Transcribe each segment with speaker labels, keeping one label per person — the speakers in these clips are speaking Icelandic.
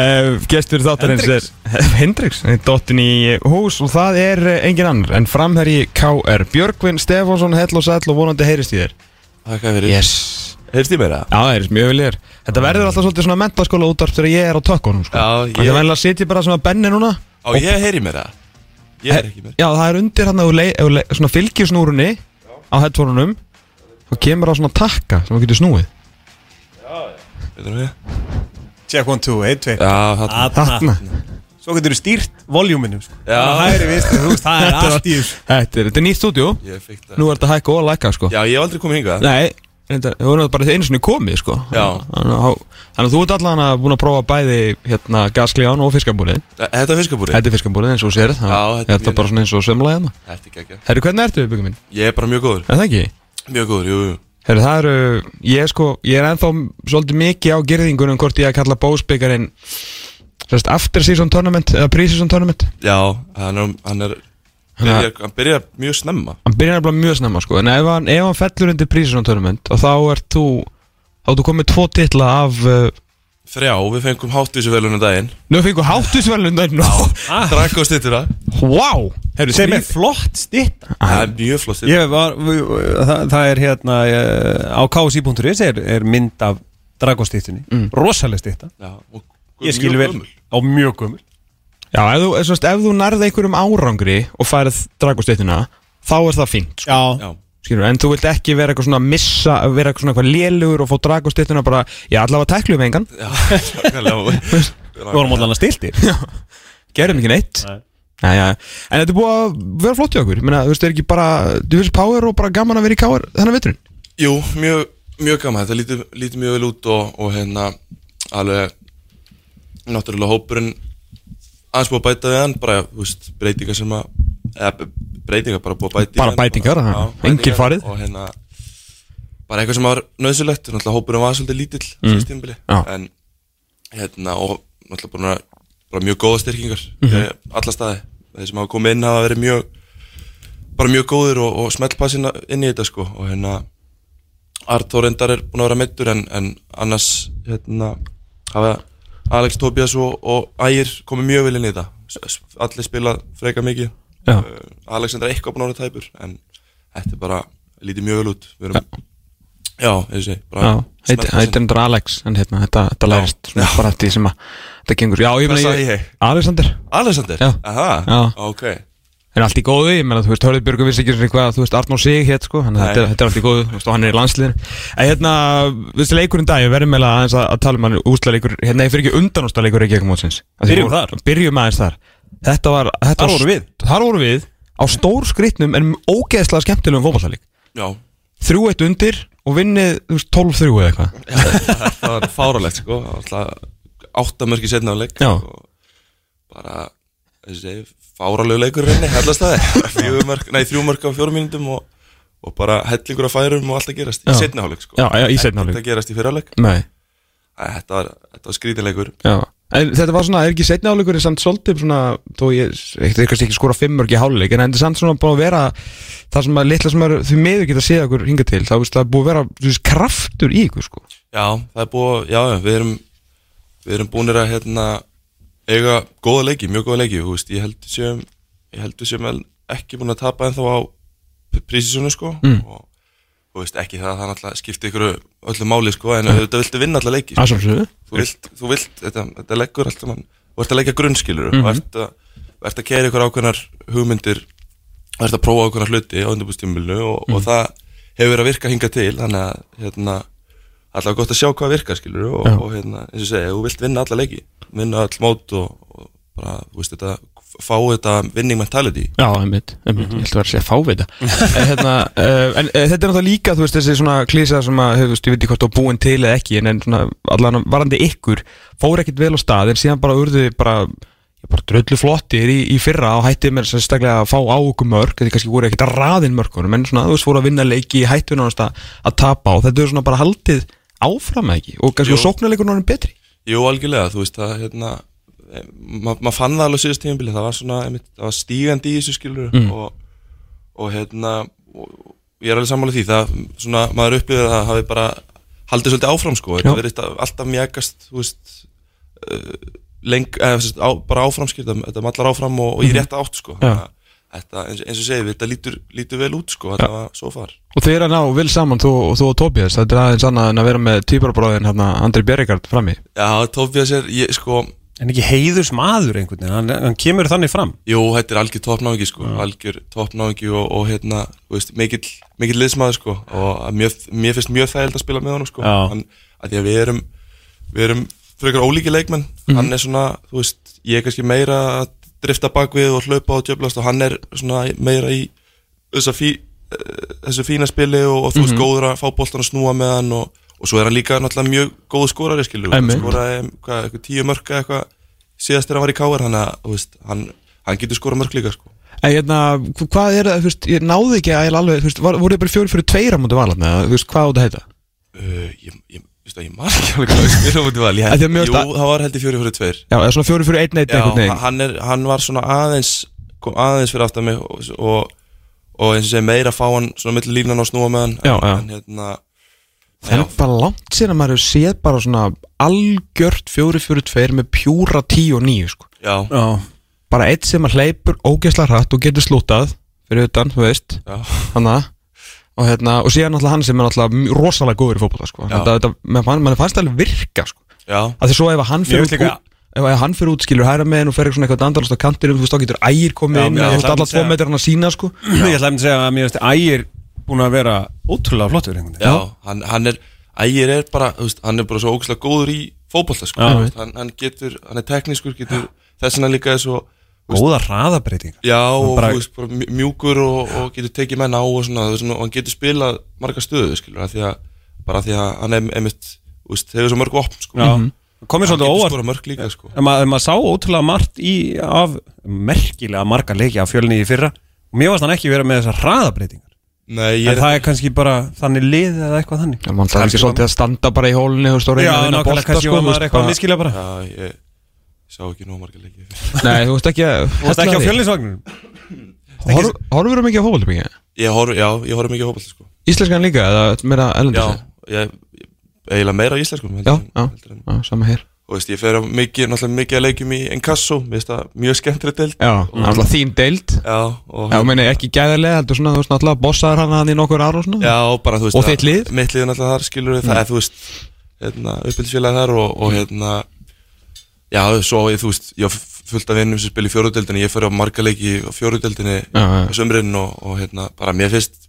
Speaker 1: Uh, gestur þáttarins er Hendrix, dottin í hús og það er eh, engin annar en framherji KR Björgvin Stefánsson, hell og sæll og vonandi heyrist í þér
Speaker 2: Takk fyrir yes. Heyrst ég meira?
Speaker 1: Já, það er mjög vel ég er Þetta verður alltaf svolítið svona mentaskóla útvarp þegar ég er á tökkunum sko.
Speaker 2: Já,
Speaker 1: ég...
Speaker 2: ég-
Speaker 1: Það verður að sitja bara svona benni núna
Speaker 2: Á, ég heyri meira Ég heyri ekki meira
Speaker 1: Já, það er undir hann að þú lei- ef þú lei- svona fylgjur snúrunni á headphone-unum og kemur á svona takka sem þú getur snúið
Speaker 2: Veitum við?
Speaker 3: Check one, two, eight, two
Speaker 2: Já, það
Speaker 3: Þarna Svo getur þú stýrt voljúminum sko.
Speaker 2: Já.
Speaker 3: Þannig að Hægri vinstri, þú veist, það er allt í þessu
Speaker 1: Þetta er, þetta er nýtt stúdjú
Speaker 2: Ég fikk það
Speaker 1: Nú er þetta hækka og lækka sko
Speaker 2: Já, ég hef aldrei komið hingað
Speaker 1: Nei, þetta, við vorum bara einu sinni komið sko
Speaker 2: Já.
Speaker 1: Þannig að- þannig að þú ert allan að búin að prófa bæði hérna gasklíðan og fiskambúrið
Speaker 2: Þetta er fiskabúri
Speaker 1: Þetta er fiskambúrið eins og þú sér það
Speaker 2: Já, þetta
Speaker 1: þetta
Speaker 2: er
Speaker 1: er
Speaker 2: mjög-
Speaker 1: bara svona eins og sömla hérna
Speaker 2: Þetta er geggja
Speaker 1: Herru, hvernig ertu byggjum minn?
Speaker 2: Ég er bara mjög góður
Speaker 1: Er það ekki?
Speaker 2: Mjög góður, jú, jú
Speaker 1: Herru, það eru, ég er sko, ég er ennþá svolítið mikið á gerðingunum hvort ég að kalla bósbyggarinn sérst, after season tournament eða pre-season tournament
Speaker 2: Já, hann er, hann er byrjar, Hann byrjar mjög snemma
Speaker 1: hann byrjar nefnilega mjög snemma sko en ef hann, ef hann fellur undir pre-season tournament og þá ert þú, þá ert þú komið tvo titla af uh,
Speaker 2: Þrjá, við fengum hátvísuvelunum daginn
Speaker 1: nú fengur háttusverlun það er nú
Speaker 2: Drakk og stýttur það
Speaker 1: wow, herru,
Speaker 3: Sem er
Speaker 1: skrýt-
Speaker 3: flott stýtt
Speaker 2: Það er mjög flott stýttur
Speaker 3: Ég var, það, það er hérna eh, á ksi.is er, er mynd af dragostýttunni, rosalega stýtta
Speaker 2: Já, og
Speaker 3: Ég skil
Speaker 2: Mm. mjög
Speaker 3: vel,
Speaker 2: gömul.
Speaker 3: á mjög gömul sko.
Speaker 1: já, ef þú, sérst, ef þú nærði einhverjum árangri og færið dragusteytuna þá er það fínt sko.
Speaker 3: Já,
Speaker 2: Já,
Speaker 1: Skilur, en þú vilt ekki vera eitthvað svona að missa, vera eitthvað svona eitthvað lélugur og fá dragusteytuna bara, já, allavega tækluðum engan
Speaker 2: já, nákvæmlega
Speaker 3: við vorum allan að stiltir
Speaker 1: gerum ekki neitt
Speaker 3: Nei.
Speaker 1: Nei, ja. En þetta er búið að vera flott í okkur Ég meina, Þú veist, er ekki bara, þú veist, power og bara gaman að vera í káar þennan veturinn
Speaker 2: Jú, mjög, mjög gaman, þetta lítur, lítur mjög vel út og, og hérna alveg náttúrulega hópurinn aðeins búið að bæta við hann bara, þú veist, breytingar sem að eða b- breytingar bara búið að bæta í
Speaker 1: Bara
Speaker 2: hann,
Speaker 1: bætingar,
Speaker 2: bara-
Speaker 1: aha.
Speaker 2: já, bætingar
Speaker 1: Engir farið.
Speaker 2: og hérna bara eitthvað sem var nöðsulegt, náttúrulega hópurinn var svolítið lítill mm. tímbili,
Speaker 1: Já.
Speaker 2: en hérna og náttúrulega bara, bara mjög góða styrkingar
Speaker 1: Mhm.
Speaker 2: mm alla staði, þeir sem hafa komið inn hafa verið mjög bara mjög góðir og, og smellpassin inn í þetta sko og hérna Arthur endar er búin að vera meittur en, en annars hérna, hafa Alex Tobias og, og Ægir komið mjög vel inn í þetta S- s- allir spila freka mikið
Speaker 1: Já.
Speaker 2: uh, Alexander er eitthvað búin að vera tæpur en þetta er bara lítið mjög vel út við erum já, ég segi bara
Speaker 1: Já, heit-
Speaker 2: smelta
Speaker 1: heitir
Speaker 2: sinn.
Speaker 1: endur Alex En hérna, þetta, þetta
Speaker 2: Já.
Speaker 1: lærist svona bara eftir því sem að þetta gengur Já, ég
Speaker 2: Hvað
Speaker 1: meina,
Speaker 2: sagði
Speaker 1: ég,
Speaker 2: ég?
Speaker 1: Alexander
Speaker 2: Alexander?
Speaker 1: Já.
Speaker 2: Aha,
Speaker 1: Já.
Speaker 2: ok
Speaker 1: En allt í góðu, ég meina, þú veist, Hörður Björgu vissi ekki sem hvað, þú veist, Arnór Sig hétt, sko, þannig að
Speaker 2: Nei.
Speaker 1: þetta, er- þetta er allt í góðu, þú veist, og hann er í landsliðin. En hérna, við veist, leikurinn dag, ég verðum meðlega aðeins að, að tala um hann úslaleikur, hérna, ég fyrir ekki undanústaleikur ekki ekki mótsins. Af því
Speaker 3: Byrjum
Speaker 1: við-
Speaker 3: þar.
Speaker 1: Byrjum aðeins þar. Þetta var... Þetta
Speaker 3: Þar
Speaker 1: var-
Speaker 3: vorum við.
Speaker 1: Þar vorum við, á stór skrittnum, en ógeðslega skemmtilegum fótballtaleik.
Speaker 2: já,
Speaker 1: Þrjú eitt undir og vinnið, þú veist, 12-3 eða eitthvað.
Speaker 2: það var fáralegt sko alltaf áttamörki setna á leik
Speaker 1: Já.
Speaker 2: og bara þessi segi, fáralegu leikur reyni, hellast það nei, þrjú mörk á fjórum mínútum og, og bara hellingur að færum og allt að gerast
Speaker 1: Já.
Speaker 2: í setna hálfleik sko
Speaker 1: Já, já, í seinni hálfleik.
Speaker 2: Ekkert að gerast í fyrraleg
Speaker 1: Nei,
Speaker 2: þetta var, þetta var skrítilegur
Speaker 1: já. En þetta var svona, er ekki setni áleikur er samt svolítið svona, þó ég eitthvað kannski ekki skora fimmörk í háluleik en þetta er samt svona búin að vera það sem að litla sem er því miður geta séð okkur hinga til þá veist það er búið að vera þú veist, kraftur í ykkur sko
Speaker 2: já, það er búið, já, já, við erum við erum búinir að hérna eiga góða leiki, mjög góða leiki þú veist, ég held við séum ég held við séum vel ekki búin að tapa ennþá á prísisjónu sko
Speaker 1: Mm.
Speaker 2: og þú veist, ekki það að það náttúrulega skipti ykkur öllu máli sko, en auðvitað viltu vinna alla leiki sko.
Speaker 1: Aðsálsöðu
Speaker 2: þú vilt, þú vilt þetta, þetta leggur allt saman þú ert að leggja grunnskilur mm
Speaker 1: Mhm.
Speaker 2: -hmm. og ert að, ert að keira ykkur ákveðnar hugmyndir og ert að prófa ákveðnar hluti á undirbústímulinu og,
Speaker 1: Mhm.
Speaker 2: og það hefur verið að virka hinga til þannig að hérna, allavega gott að sjá hvað virkar skilur og,
Speaker 1: Já.
Speaker 2: og hérna, eins og segja, þú vilt vinna alla leiki vinna all mót og, og bara, þú veist þetta, fá þetta winning mentality
Speaker 1: Já, einmitt, einmitt, ég held að vera að segja fávita Mhm. en, hérna, uh, en uh, þetta er náttúrulega líka þú veist þessi svona klísa sem að hefur, veist, ég veit ekki hvort þú búin til eða ekki en, en svona allan varandi ykkur fór ekkit vel á stað en síðan bara urðu þið bara, já, bara dröllu flottir í, í fyrra og hættið mér sérstaklega að fá á okkur mörg þið kannski voru ekkit að raðin mörgunum en svona þú veist fóru að vinna leiki í hættun að, að tapa og þetta er svona bara haldið áfram eða ekki og kannski
Speaker 2: Jú.
Speaker 1: og sóknarleikurinn orðinn betri
Speaker 2: Jú, algjörlega, þú veist að hérna, eh, ma maður fann það alveg síðast tímabili það var svona, einmitt, það var stígandi í þessu skilur og, og hérna og, og ég er alveg sammála því það, svona, maður upplifir að það hafi bara haldið svolítið áfram sko,
Speaker 1: Já.
Speaker 2: þetta verið alltaf mjækast þú veist uh, leng, eh, sem sagt, á, bara áframskýrta þetta mallar áfram og, og í rétta átt sko. Þannig að þetta, eins, eins og segir við, þetta lítur, lítur vel út sko, þetta var svo far
Speaker 1: Og þeir eru að ná vel saman þú, og þú og Tobias Þetta er aðeins annað en að vera með týparabráðin hérna, Andri Bjerregard frammi
Speaker 2: Já, Tobias er, ég, sko
Speaker 3: En ekki heiðurs maður einhvern veginn, hann, hann kemur þannig fram
Speaker 2: Jú, þetta er algjör toppnáðingi sko, algjör toppnáðingi og, og hérna, þú veist, mikill, mikill liðsmaður sko og að mér, mér finnst mjög þægild að spila með honum sko,
Speaker 3: Já.
Speaker 2: hann, að því að við erum, við erum frekar ólíki leikmenn, hann er svona, þú veist, ég er kannski meira að drifta bakvið og hlaupa og djöflast og hann er svona meira í þessa fí, eh, þessu fína spili og, og þú veist, góður að fá boltan að snúa með hann og, og svo er hann líka náttúrulega mjög góð skorari skilur,
Speaker 1: Einmitt.
Speaker 2: skora skoraði hvað, eitthvað tíu mörg eða eitthvað síðast þegar hann var í káar þannig að þú veist, hann, hann getur skorað mörg líka sko.
Speaker 1: En hérna, hv- hvað er það, þú veist, ég náði ekki að ég alveg, þú veist, var, voru þið bara fjóri fyrir tveira mútu valarni, eða, þú veist, hvað á þetta að heita?
Speaker 2: uh, ég, ég, veist það, ég man ekki alveg hvað við spilum út í val ég
Speaker 1: Af því
Speaker 2: held,
Speaker 1: að mér
Speaker 2: Jú,
Speaker 1: finnst að-
Speaker 2: það var heldur fjóri fyrir tveir
Speaker 1: Já, eða svona fjóri fyrir einn eitt
Speaker 2: Já,
Speaker 1: einhvern
Speaker 2: hann-
Speaker 1: veginn
Speaker 2: hann, er, hann var svona aðeins kom aðeins fyrir aftan mig og, og, og eins og segja meira að fá hann svona milli lífnan og snúa með hann
Speaker 1: Já,
Speaker 2: en,
Speaker 1: já.
Speaker 2: En, hérna,
Speaker 1: Það er bara langt síðan að maður hefur séð bara svona algjört fjóri fyrir tveir með pjúra tíu og níu, sko
Speaker 2: já, já,
Speaker 3: Já,
Speaker 1: Bara eitt sem að hleypur ógeðslega hratt og getur slútað fyrir utan, þú veist, hann að Og hérna, og síðan náttúrulega hann sem er náttúrulega mj- rosalega góður í fótbolta, sko
Speaker 2: Já.
Speaker 1: Þetta, þetta, mann, mann fannst það alveg virka, sko
Speaker 2: já,
Speaker 1: að því svo ef að hann fyrir
Speaker 3: Mér
Speaker 1: út,
Speaker 3: finnst líka-
Speaker 1: ef að hann fyrir út skilur hæra meginn og fer eitthvað svona eitthvað andalast á kantinum þú veist þá getur ægir komið
Speaker 3: Já,
Speaker 1: inn
Speaker 3: já,
Speaker 1: og
Speaker 3: ég
Speaker 1: þú veist
Speaker 3: ætla
Speaker 1: alla
Speaker 3: að
Speaker 1: tvo
Speaker 3: segja.
Speaker 1: metrarna sína sko
Speaker 3: ég ætla að segja að mér finnst ægir búin að vera ótrúlega flottur einhvern veginn
Speaker 2: já hann, hann er ægir er bara, þú veist, hann er bara svo ógæslega góður í fótbolta sko,
Speaker 3: Já.
Speaker 2: Þú veist, hann, hann getur, hann er teknískur getur, þess vegna líka er svo þú veist,
Speaker 3: Góða hraðabreitingar
Speaker 2: Já, og
Speaker 3: bara-
Speaker 2: bara, veist, bara mj- mjúkur og, og getur tekið menn á og svona, þú veist, og hann getur spilað marga stöðu, skilur, af því að bara af því að hann er einmitt, þú veist, hefur svo mörg vopn, sko.
Speaker 3: Já, Mhm. komið
Speaker 2: Hann
Speaker 3: svolítið
Speaker 2: getur
Speaker 3: óvart
Speaker 2: skorað mörg líka, sko.
Speaker 3: en maður, maður sá ótrúlega margt í af merkilega marga leiki af fjölni í fyrra og mér varst hann ekki vera með þessar hraðabreitingar
Speaker 2: Nei, ég
Speaker 3: en
Speaker 2: er,
Speaker 3: það er kannski bara þannig lið eða eitthvað þannig
Speaker 1: en mann þarf ekki svolítið að standa bara í hólunni þú veist og
Speaker 3: Já,
Speaker 1: reyna að vinna
Speaker 3: nákvæmlega,
Speaker 1: bolta
Speaker 3: kannski
Speaker 1: sko
Speaker 3: var
Speaker 1: þú
Speaker 3: maður
Speaker 1: veist,
Speaker 3: eitthvað að
Speaker 1: bara-
Speaker 3: miskila bara
Speaker 2: já, ég sá ekki nóg marga leikið.
Speaker 1: nei þú veist ekki að
Speaker 3: Það er
Speaker 1: hella
Speaker 3: ekki á
Speaker 1: því.
Speaker 3: fjölnisvagnunum
Speaker 1: Horf- horfir þú mikið á fótbolta mikið
Speaker 2: Ég horf, já, ég horf mikið á hópað, sko.
Speaker 1: íslenskan líka eða meira
Speaker 2: Já,
Speaker 1: ellendis
Speaker 2: ég, ég, eiginlega meira á íslenskum,
Speaker 1: já,
Speaker 2: heldur, en-
Speaker 1: já,
Speaker 2: heldur en,
Speaker 1: já, sama hér
Speaker 2: og veist, ég fer á mikið, náttúrulega mikið að leikjum í Encasso, mér veist það, mjög skemmtrið deild.
Speaker 1: já, alltaf þín deild
Speaker 2: Já, og,
Speaker 1: já, meina ekki gæðarlega heldur svona þú veist alltaf bossaður hann hann í nokkur ár og svona
Speaker 2: Já, og bara þú veist
Speaker 1: Og
Speaker 2: að-
Speaker 1: þitt lið?
Speaker 2: Mitt lið er náttúrulega þar skilur við það er, Þú veist, hérna, uppbyldisfélagi þar og,
Speaker 1: Mm.
Speaker 2: og hérna Já, svo ég, þú veist, ég á f- fullt af vinnum sem spila í fjóruðdeldinni Ég fyrir á marga leiki á fjóruðdeldinni
Speaker 1: Já, já.
Speaker 2: á sömurinn og, og hérna, bara mér finnst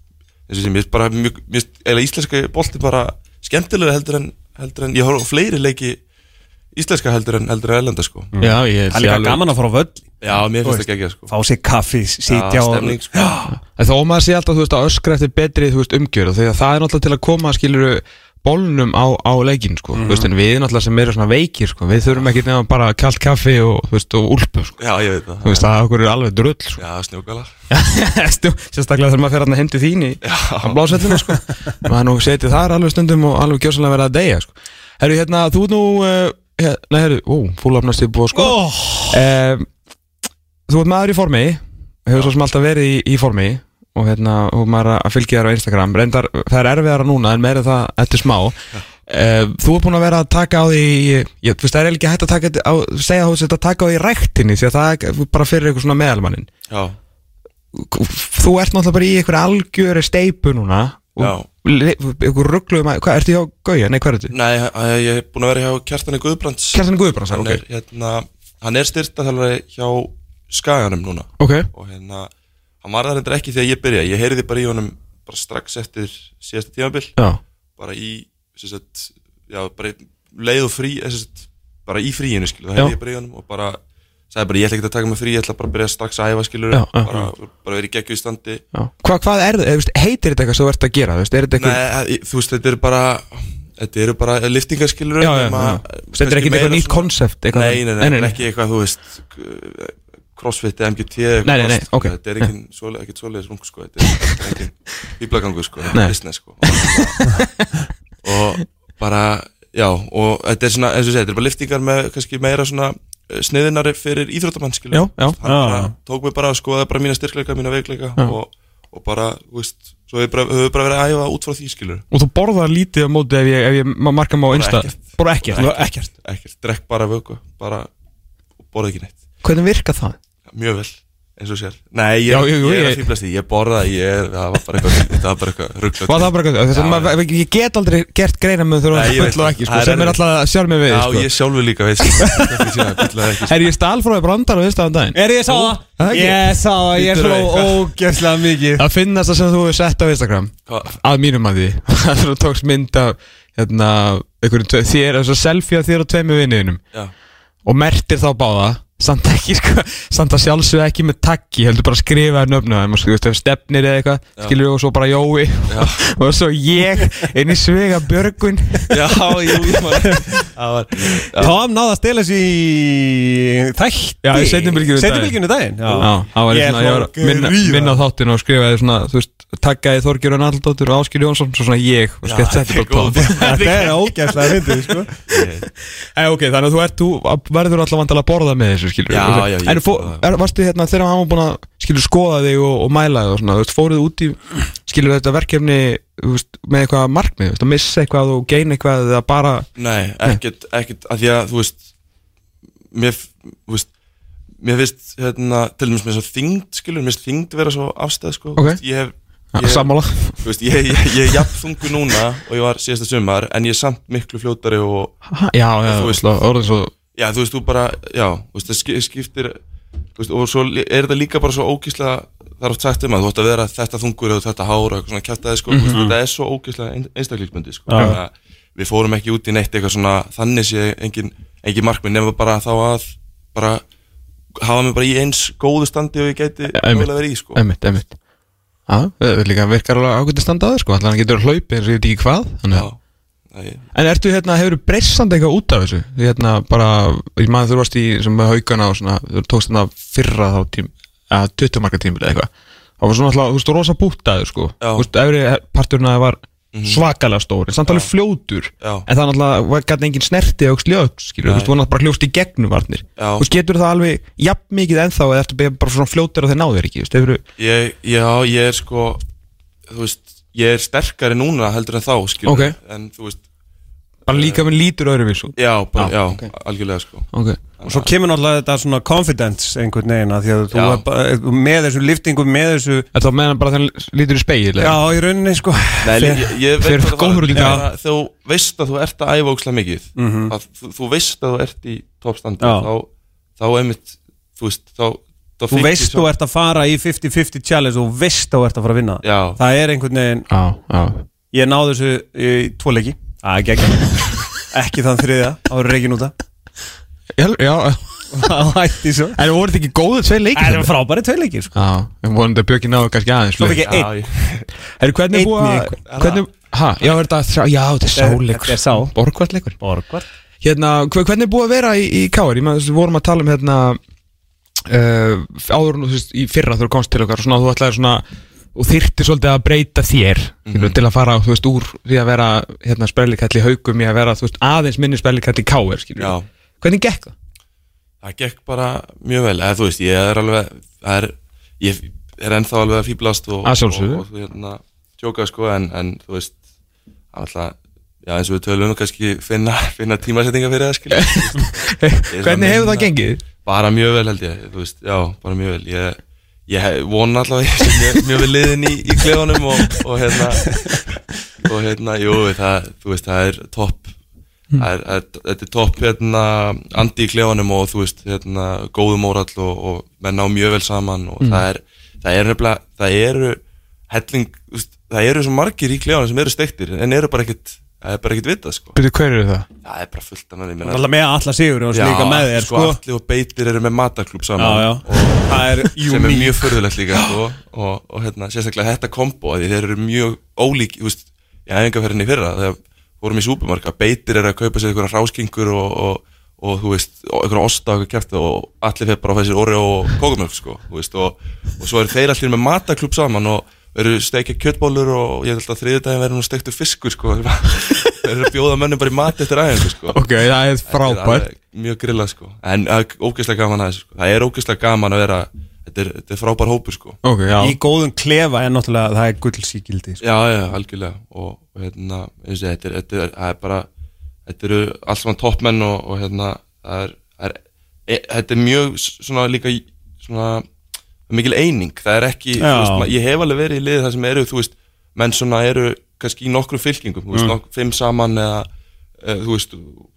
Speaker 2: eins og sem mér finnst bara mjög, mér finnst eða íslenska bolti bara skemmtilega heldur en, heldur en ég horf á fleiri leiki íslenska heldur en heldur en erlenda sko
Speaker 1: já, ég
Speaker 3: Það er líka gaman að fara á völl
Speaker 2: Já, mér finnst það gegja sko
Speaker 3: Fá sér kaffi, sitja og
Speaker 2: stemning, sko.
Speaker 1: En þó maður sé alltaf, þú veist, að öskra eftir betri, þú veist, umgjörð Þegar það er náttúrulega til að koma, skiluru, bólnum á, á leikin, sko Þú veist, en við náttúrulega sem eru svona veikir, sko Við þurfum ekki nefnum bara kalt kaffi og, þú veist, og úlpu, sko
Speaker 2: Já, ég veit það
Speaker 1: Þú veist, það okkur er alveg drull, sko
Speaker 2: Já, snjókala
Speaker 1: Stjó- Sérstaklega þegar maður fer hann að hendi þín í á blásvettinu, sko Maður nú setið þar alveg stundum og alveg gjössanlega verið að deyja, sko Herru, hérna, þú ert nú, uh, hér, nei, herru, ó, fúlafnast ég búið, að skora.
Speaker 3: oh,
Speaker 1: Eh, Þú ert maður í formi Hefur svo sem alltaf verið í, í formi Og hérna, og maður að fylgja þér á Instagram Reyndar, það er erfiðara núna en meira það eftir smá eh, Þú ert búin að vera að taka á því ég, Þú veist, það er eiginlega ekki hægt að taka þetta á, segja þú sért að taka á því í ræktinni Því að það er bara fyrir eitthvað svona meðalmannin
Speaker 2: Já,
Speaker 1: Þú ert náttúrulega bara í einhver algjöri steipu núna
Speaker 2: Já.
Speaker 1: Ykkur ruggluðum um að, hvað, ertu hjá Gauja? Nei, hvað ertu?
Speaker 2: nei, að- ég er búin að vera hjá Kjartani Guðbrands
Speaker 1: Kerstin Guðbrands,
Speaker 2: hann,
Speaker 1: ok
Speaker 2: er, hérna, hann er styrtaþjálfari hjá Skaganum núna
Speaker 1: Ok,
Speaker 2: og hérna, hann var það reyndar ekki þegar ég byrjaði ég heyrði bara í honum bara strax eftir síðasta tímabil
Speaker 1: já,
Speaker 2: bara í sem sagt, já, bara í- leið og frí eh, sem sagt, bara í fríinu skilur, það
Speaker 1: Já.
Speaker 2: heyrði ég bara í honum og bara sagði bara ég ætla ekki að taka mig frí, ég ætla bara að byrja strax að æfa skilur,
Speaker 1: Já, já,
Speaker 2: bara, bara verið geggju í standi
Speaker 1: já Hva, Hvað er það? Eh, þú veist, Heitir þetta eitthvað sem þú ert að gera? þú veist, Er þetta eitthvað
Speaker 2: Nei, að- þú veist, þetta eru bara þetta eru bara liftingaskilur
Speaker 1: já, já, já. Þetta er ekkert eitthvað nýtt konsept eitthvað-
Speaker 2: Nei, nei, nei, nei, ekki eitthvað, þú veist crossfit, eða MGT
Speaker 1: Nei,
Speaker 2: eða
Speaker 1: nei,
Speaker 2: eitthvað
Speaker 1: nei,
Speaker 2: sko.
Speaker 1: ok.
Speaker 2: þetta er engin svoleið, ekkert svoleiðis rung sko. þetta er þetta er engin bíblagangur sko. þetta
Speaker 1: Nei.
Speaker 2: er business sko. og bara, já og þetta er svona, eins og segja, þetta er bara liftingar með kannski meira svona eh, sniðinari fyrir íþróttamann skilur
Speaker 1: Já, já.
Speaker 2: hann
Speaker 3: Já.
Speaker 2: bara tók mig bara að skoða bara mína styrkleika, mína veikleika og, og bara, þú veist, svo hefur bara, hefur bara verið að æfa út frá því skilur
Speaker 1: Og þú borðar lítið á móti ef ég, ef ég marka mig á einsta
Speaker 2: ekkert.
Speaker 1: Bara ekkert
Speaker 3: Ekkert
Speaker 2: ekkert, drekk bara vöku bara borða ekki neitt
Speaker 1: Hvernig virka það?
Speaker 2: Mjög vel, eins og sér Nei, ég,
Speaker 1: Já, jú, jú,
Speaker 2: ég er
Speaker 1: ég-
Speaker 2: að fýblast því, ég borða ég, það var bara eitthvað, það var bara eitthvað ruggla
Speaker 1: Var það bara eitthvað? Þess að
Speaker 2: Já,
Speaker 1: maður- Ég get aldrei gert greina með þú
Speaker 2: Nei, ég
Speaker 1: erum
Speaker 2: veit
Speaker 1: full og
Speaker 2: það.
Speaker 1: ekki sko,
Speaker 2: Það er
Speaker 1: sem er
Speaker 2: erfitt.
Speaker 1: alltaf sjálf með við
Speaker 2: Já,
Speaker 1: sko.
Speaker 2: ég sjálfur líka veist Það
Speaker 1: Er ég stál frá því brandar og viðstafan daginn?
Speaker 3: Er ég sá það?
Speaker 1: það ekki?
Speaker 3: Ég sá það, ég
Speaker 2: Lítur
Speaker 3: hló
Speaker 2: á eitthvað.
Speaker 3: ógefslega mikið
Speaker 1: Það finnast það sem þú hefur sett á Instagram að mínum að því Þegar þú tókst mynd af hérna, einhverjum tve, þér, þess að selfie af þér og tveimur vinniðinum og mertir þá báða samt ekki, sko, samt að sjálfsög ekki með takki, heldur bara að skrifa þér nöfnu þeim, sko, þú veist, ef stefnir eða eitthvað skilur við og svo bara Jói og svo ég inn í svega Björgun
Speaker 2: Já, jú, ég maður Það var
Speaker 3: Tom náða að stela sér í þætti
Speaker 1: Já, í seinni bylgjunni um daginn.
Speaker 3: Seinni bylgjunni um daginn Já,
Speaker 1: Já, það var
Speaker 3: Ég
Speaker 1: svona, ég var að
Speaker 3: hló
Speaker 1: minna,
Speaker 3: gríðarlega.
Speaker 1: minna á þáttinn og skrifaði svona, þú veist, takkaði Þorgjörun Aldóttur og Áskil Jónsson, svo svona ég og skett
Speaker 2: þetta
Speaker 1: þetta
Speaker 2: er góð
Speaker 1: báða
Speaker 3: Þetta er ógefslega myndið, sko
Speaker 1: Ei, ok, þannig að þú, ert, þú verður alltaf vandalega að borða með þessu, skilur
Speaker 2: Já, já, ég-
Speaker 1: En fó, er, varstu hérna, þegar hann var búin að, skilur, skoða þig og, og mæla þig og svona, þú veist, fóruð þið út í, skilur, þetta verkefni, þú veist, með eitthvað markmið, þú veist, að missa eitthvað og geina eitthvað eða bara
Speaker 2: Nei, ekkert, ekkert að því að þú veist mér, f- þú veist, mér finnst hérna, til dæmis með þess að þyngd skilur, mér finnst þyngd vera svo afstæð sko.
Speaker 1: Ok.
Speaker 2: ég hef
Speaker 1: yeah.
Speaker 2: ég,
Speaker 1: sammála.
Speaker 2: þú veist, ég, ég, ég er jafn þungu núna og ég var síðasta sumar en ég er samt miklu fljótari og
Speaker 1: Ha, Já, já,
Speaker 2: Þú
Speaker 1: þú
Speaker 2: veist.
Speaker 1: veist, orðin svo,
Speaker 2: já, þú veist, þú bara, já, þú veist, það ski- skiptir þú veist, og svo li- er þetta líka bara svo ógíslega það er oft sagt um að þú ætti að vera þetta þungur og þetta hár og eitthvað svona kjæftæði sko, mm
Speaker 1: Mhm.
Speaker 2: -hmm. þetta er svo ógíslega einstaklingsbundi sko. Þannig að við fórum ekki út í neitt eitthvað svona þannig sé engin, engin markmið nema bara þá að bara hafa mig bara í eins góðu standi og ég gæti
Speaker 1: einmitt.
Speaker 2: mögulega verið í sko.
Speaker 1: emmitt, emmitt. Já, það er líka virkar alveg ágætið standaður, sko, allan hann getur hlaupið eins og ég veit ekki hvað, þannig
Speaker 2: já,
Speaker 1: að
Speaker 2: það er
Speaker 1: En ertu hérna, hefur þú breysand eitthvað út af þessu? Því hérna bara, ég maður þú varst í sem með haugana og svona, þú tókst hérna fyrra þá tím, að 20 marka tímil eða eitthvað. Það var svona alltaf, þú veist, rosa bútaður sko.
Speaker 2: Já. Mhm.
Speaker 1: Þú veist, efri parturinn að það var svakalega stóri, samt alveg fljótur.
Speaker 2: Já.
Speaker 1: En það náttúrulega gæti engin snerti og sljög, skilur, þú veist, þú var náttúrulega bara hljóst í gegnum varnir.
Speaker 2: Já.
Speaker 1: Þú veist, getur það alveg jafn mikið ennþá eða ertu bara svona fljótur og þeir náður ekki, þú veist, hefur
Speaker 2: Ég, já, ég er sko þú veist, ég er sterkari núna heldur en þá, skilur
Speaker 1: Ok.
Speaker 2: en þú veist,
Speaker 1: bara líka með lítur öðruvís út.
Speaker 2: já, bara,
Speaker 1: Já,
Speaker 2: já,
Speaker 1: ok.
Speaker 2: algjörlega sko
Speaker 1: Okay.
Speaker 3: Og svo kemur náttúrulega þetta svona confidence einhvern veginn að því að þú
Speaker 2: Já.
Speaker 3: er bara- með þessu liftingum, með þessu
Speaker 1: Þetta var meðan bara þannig lítur í speil
Speaker 3: Já, í rauninni sko
Speaker 2: Nei, ég, ég- ég veit
Speaker 1: fer
Speaker 2: hvað það
Speaker 1: góður
Speaker 2: var,
Speaker 1: út í
Speaker 2: ég
Speaker 1: dag.
Speaker 2: bara- Þú veist að þú ert að æfa ókslega mikið að, þú, þú veist að þú ert í toppstandi
Speaker 3: Mhm. Já.
Speaker 2: þá, þá einmitt, þú veist þá, þá
Speaker 3: Þú veist þú ert að fara í 50-50 challenge og veist þú ert að fara að vinna
Speaker 2: Já.
Speaker 3: Það er einhvern veginn,
Speaker 1: Já, já.
Speaker 3: ég náði þessu í tvo leiki Það er geggjað Ekki þann þriðja, þá eru reikin út að
Speaker 1: Já, já.
Speaker 3: Það hætti svo
Speaker 1: En voru þetta ekki góðu tvei leikir?
Speaker 3: Það eru frábæri tvei leiki sko.
Speaker 1: Já, við vonum þetta Björki náðu kannski aðeins
Speaker 3: Svo fikk ég
Speaker 2: Já,
Speaker 3: einn
Speaker 2: ég,
Speaker 1: Herru, hvernig er búið
Speaker 3: Einnig
Speaker 1: að
Speaker 3: einhver-
Speaker 1: hvernig, ha, já, er þetta, þrjá- já, þetta er sáleikur
Speaker 3: Þetta er sá.
Speaker 1: Borgvalleikur
Speaker 3: Borgvar
Speaker 1: Hérna, hver- hvernig er búið að vera í, í Káar? Ég maður, við vorum að tala um hérna uh, áður nú, þú veist, í fyrra þegar þú komst til okkar og svona, þú ætlaði svona og þyrti svolítið að breyta þér mm til að fara, þú veist, úr því að vera hérna, sprellikall í haugum í að vera, þú veist, aðeins minni sprellikall í Káar, skilur
Speaker 2: já,
Speaker 1: Hvernig gekk það?
Speaker 2: það gekk bara mjög vel eða þú veist, ég er alveg það er, ég er ennþá alveg að fýblast og,
Speaker 1: Að
Speaker 2: og,
Speaker 1: sjálfsögðu.
Speaker 2: og, og hérna, tjóka sko en, en þú veist það er alltaf, já eins og við tölum kannski finna, finna tímasettinga fyrir það skilja svona
Speaker 1: Hvernig hefur það
Speaker 2: minna-
Speaker 1: gengið?
Speaker 2: bara mjög vel held ég, þú veist, já, bara mjög vel ég, ég hef- vona allavega að ég sé mjög, mjög vel liðin í, í klefanum og, og hérna og hérna, jú, það, þú veist, það er topp það er, það er, þetta er topp hérna, andi í klefanum og þú veist, hérna, góðum órall og, og menn á mjög vel saman og það er, það er nefnilega, það eru helling, þú veist, það eru svo margir í klefanum sem eru steiktir, en eru bara ekkit það er bara ekkit vitað, sko,
Speaker 1: Byrju, hver eru það?
Speaker 2: það er bara fullt af manni, ég meina-
Speaker 3: Alltaf með alla sigur og slíka með þér
Speaker 2: sko,
Speaker 3: sko
Speaker 2: Atli og Beitir eru með mataklub
Speaker 3: Já,
Speaker 2: saman
Speaker 3: já Það er
Speaker 2: og sem er
Speaker 3: unique
Speaker 2: mjög förðulegt líka sko, og, og hérna, sérstaklega þetta kombo því þeir eru mjög ólík þú veist, í æfingarferðinni í fyrra þegar vorum í súpermarka, Beitir eru að kaupa sér einhverja ráskingur og, og, og þú veist, og einhverja osta og kæftu og allir fyrir bara að fæða sér orði og kókumjölk sko, þú veist, og, og svo eru þeir allir með mataklub saman og eru steikja kjötbólur og ég held að þriðudaginn verður nú steiktur fiskur sko, þeir bara- þeir eru að bjóða mönnum bara í mat eftir æfingu sko
Speaker 1: Ok, það er frábært
Speaker 2: alveg mjög grilla sko en það er ógeðslega gaman aðeins sko. það er ógeðslega gaman að vera þetta er, þetta er frábær hópur sko
Speaker 1: Ok, já
Speaker 3: Í góðum klefa er náttúrulega það er gullsíkildi sko.
Speaker 2: já já algjörlega og, og hérna eins og þetta er, þetta er, það er bara þetta eru alls saman toppmenn og, og hérna það er, það er e, þetta er mjög s- svona líka í- svona mikil eining, það er ekki þú
Speaker 3: Já.
Speaker 2: veist, ma- ég hef alveg verið í liði þar sem eru þú veist, menn svona eru kannski í nokkrum fylkingum, þú veist,
Speaker 3: Mm.
Speaker 2: nokk, fimm saman eða e, þú veist,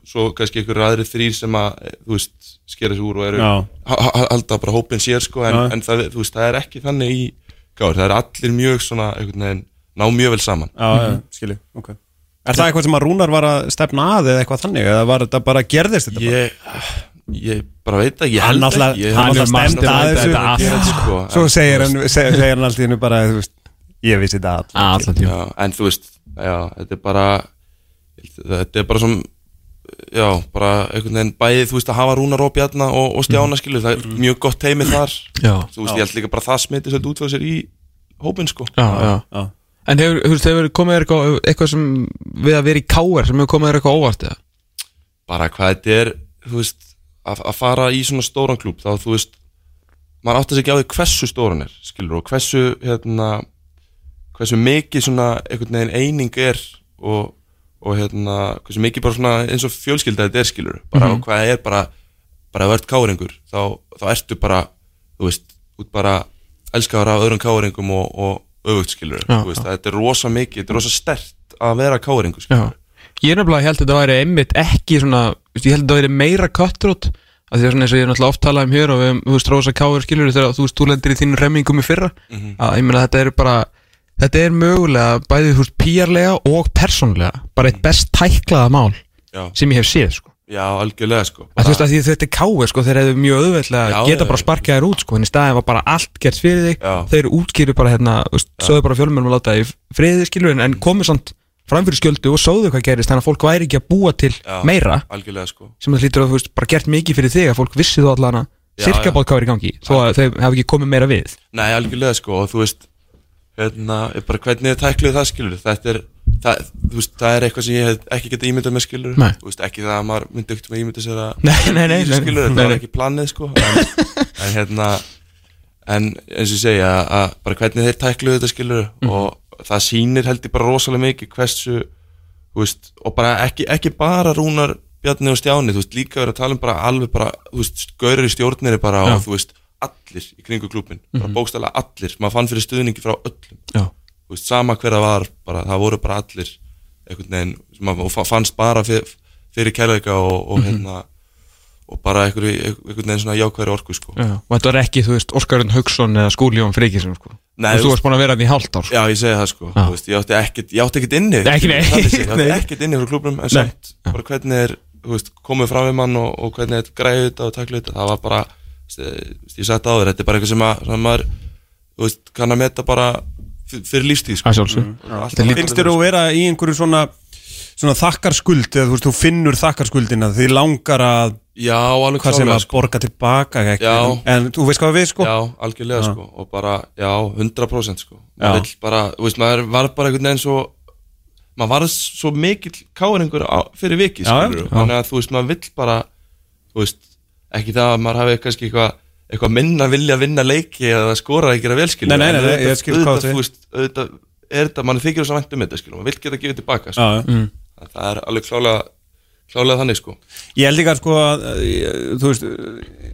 Speaker 2: svo kannski ykkur aðri þrýr sem að e, þú veist, skera sig úr og eru
Speaker 3: Já.
Speaker 2: ha- ha- halda bara hópin sér sko, en,
Speaker 3: Já.
Speaker 2: en það, þú veist, það er ekki þannig í gáður, það er allir mjög svona einhvern veginn, ná mjög vel saman
Speaker 3: Já, já, skilju, ok Er það eitthvað sem að Rúnar var að stefna að eða eitthvað þannig, eða var þetta bara gerðist þetta
Speaker 2: ég, ég bara veit ekki, ég
Speaker 3: Hann
Speaker 2: held
Speaker 3: náttúrulega-
Speaker 2: ekki ég-
Speaker 3: hann náttúrulega
Speaker 2: mastermind
Speaker 3: stemdi að þessu.
Speaker 2: þetta allt,
Speaker 3: Já.
Speaker 2: sko,
Speaker 3: bara? Svo
Speaker 2: en-
Speaker 3: segir hann, segir, segir hann allt í hennu bara, þú veist, ég vissi þetta all
Speaker 1: Allan tíma
Speaker 2: já, en þú veist, já, þetta er bara þetta er bara som já, bara einhvern veginn bæði þú veist að hafa Rúnar og Bjarna og, og
Speaker 3: Mm.
Speaker 2: Stjána skilur, það er mjög gott teimi þar
Speaker 1: Já,
Speaker 2: þú veist, ég held líka bara það smiti svolítið út frá sér í hópin sko
Speaker 1: já, já
Speaker 3: Já,
Speaker 1: En hefur, hefur, hefur komið þér eitthvað, eitthvað sem við að vera í káar sem hefur komið þér eitthvað óvart eða?
Speaker 2: bara hvað þetta er, þú veist að, að fara í svona stóran klúb þá þú veist, maður átt að segja á því hversu stóran er, skilur, og hversu hérna, hversu mikið svona einhvern veginn eining er og, og hérna, hversu mikið bara svona eins og fjölskylda þetta er, skilur bara
Speaker 1: Mhm.
Speaker 2: og hvað er bara, bara að verð káringur þá, þá ertu bara, þú veist út bara elskaður af öðrum káringum og, og öfugt, skilur
Speaker 1: Já,
Speaker 2: þú veist, þetta er rosa mikið, þetta er rosa stert að vera káringur, skilur
Speaker 1: Ég er nefnilega held að þetta væri einmitt ekki svona, þú veist, ég held að þetta væri meira cutthroat að því að svona eins og ég er náttúrulega oft talað um hér og við höfum, þú veist, Rósa Káur skilur þegar þú veist, þú lendir í þínu remmingum í fyrra að ég meina þetta er bara þetta er mögulega bæði, þú veist, píjarlega og persónlega, bara eitt best tæklaða mál
Speaker 2: Já,
Speaker 1: sem ég hef séð, sko
Speaker 2: já, algjörlega, sko
Speaker 1: að þú veist að því þetta er káir sko þeir hefðu mjög auðveldlega
Speaker 2: Já,
Speaker 1: geta
Speaker 2: já,
Speaker 1: bara
Speaker 2: já.
Speaker 1: sparkað þér út sko en í staðin var bara allt gert fyrir þig
Speaker 2: Já.
Speaker 1: þeir útskýru bara hérna þú veist, sögðu bara fjölmjörnum og láta þig í friði skilur en, en komu samt framfyrir skjöldu og sögðu hvað gerist þannig að fólk væri ekki að búa til
Speaker 2: Já.
Speaker 1: meira
Speaker 2: algjörlega sko
Speaker 1: sem það hlýtur að þú veist bara gert mikið fyrir þig að fólk vissi þú allan að
Speaker 2: Já, já.
Speaker 1: sirka bátt hvað er í gangi þó að þau hafi ekki komið meira við
Speaker 2: Nei, algjörlega sko og þú veist hérna, er bara hvernig þið tækluð það skilur þetta er, það, þú veist, það er eitthvað sem ég hef ekki getað ímyndað með skilur
Speaker 1: Nei.
Speaker 2: þú veist, ekki það að maður myndi ekkert með ímynda sér að
Speaker 1: Nei, nei, nei, nei, nei,
Speaker 2: skilur, þetta var
Speaker 1: nei.
Speaker 2: ekki planið sko en, en hérna en eins og ég segja að bara hvernig þeir tækluðu þetta skilur
Speaker 1: Mhm.
Speaker 2: og það sýnir held ég bara rosalega mikið hversu þú veist, og bara ekki, ekki bara Rúnar Bjarni og Stjáni, þú veist, líka verið að tala um bara alveg bara, þú veist, gaurir í stjórnir bara og þú veist, allir í kringu klubin bara
Speaker 1: Mhm.
Speaker 2: bókstælega allir, maður fann fyrir stuðningi frá öllum,
Speaker 1: já,
Speaker 2: þú veist, sama hver það var bara, það voru bara allir einhvern veginn, sem maður fa- fannst bara fyrir, fyrir kærleika og,
Speaker 1: Mhm.
Speaker 2: og hérna og bara einhverju- einhvern veginn svona jákværi orku, sko.
Speaker 1: já. og þetta var ekki þú veist Óskarinn Haugsson eða Skúli Jón Freikisson sko
Speaker 2: Nei,
Speaker 1: Nei, þú veist,
Speaker 2: þú-
Speaker 1: þú varst búin að vera því hálft ár sko.
Speaker 2: Já, ég segi það sko,
Speaker 1: Já.
Speaker 2: þú veist, ég átti ekkert, ég átti ekkert inni
Speaker 1: Nei, ekki, nei.
Speaker 2: Þannig séð, Ég átti
Speaker 1: Nei.
Speaker 2: ekkert inni frá klubnum, en
Speaker 1: Nei. Ah.
Speaker 2: samt bara hvernig er, þú veist, komið fram við mann og, og hvernig er græðið þetta og taklið þetta það var bara, þú veist, eh, þú veist, ég sagði það á þér þetta er bara eitthvað sem, að, sem maður, þú veist, kann að meta bara fyr- fyrir lífstíð sko.
Speaker 1: að sjálfsög
Speaker 2: Allt
Speaker 1: Þetta
Speaker 2: annað-
Speaker 3: Finnst þér að vera í einhverju svona, svona þakkarskuld, eða þú veist, þú finnur þakkarskuldina, því langar að,
Speaker 2: Já, alveg
Speaker 3: hvað sem
Speaker 2: klárlega,
Speaker 3: að borga tilbaka, ekki,
Speaker 2: sko. Já.
Speaker 3: en þú veist hvað við, sko?
Speaker 2: Já, algjörlega sko og bara, já, 100% sko
Speaker 3: Já.
Speaker 2: maður vill bara, þú veist, maður var bara einhvern veginn svo maður var svo mikill káringur fyrir viki
Speaker 3: Já, já.
Speaker 2: skilurðu. þannig að þú veist, maður vill bara þú veist, ekki það að maður hafi kannski eitthvað eitthvað minna vilja að vinna leiki eða skora að gera velskil
Speaker 3: Nei, nei, nei, nei, ég skil
Speaker 2: auðvitað,
Speaker 3: hvað þú segir.
Speaker 2: þú veist, auðvitað er þetta, mann þykir þess að væntum þetta skilur, maður vill geta gefið tilbaka sko.
Speaker 3: já. Mm.
Speaker 2: það er alveg klálega klálega þannig sko
Speaker 3: Ég held ekki að sko að, eh, þú veist, eh,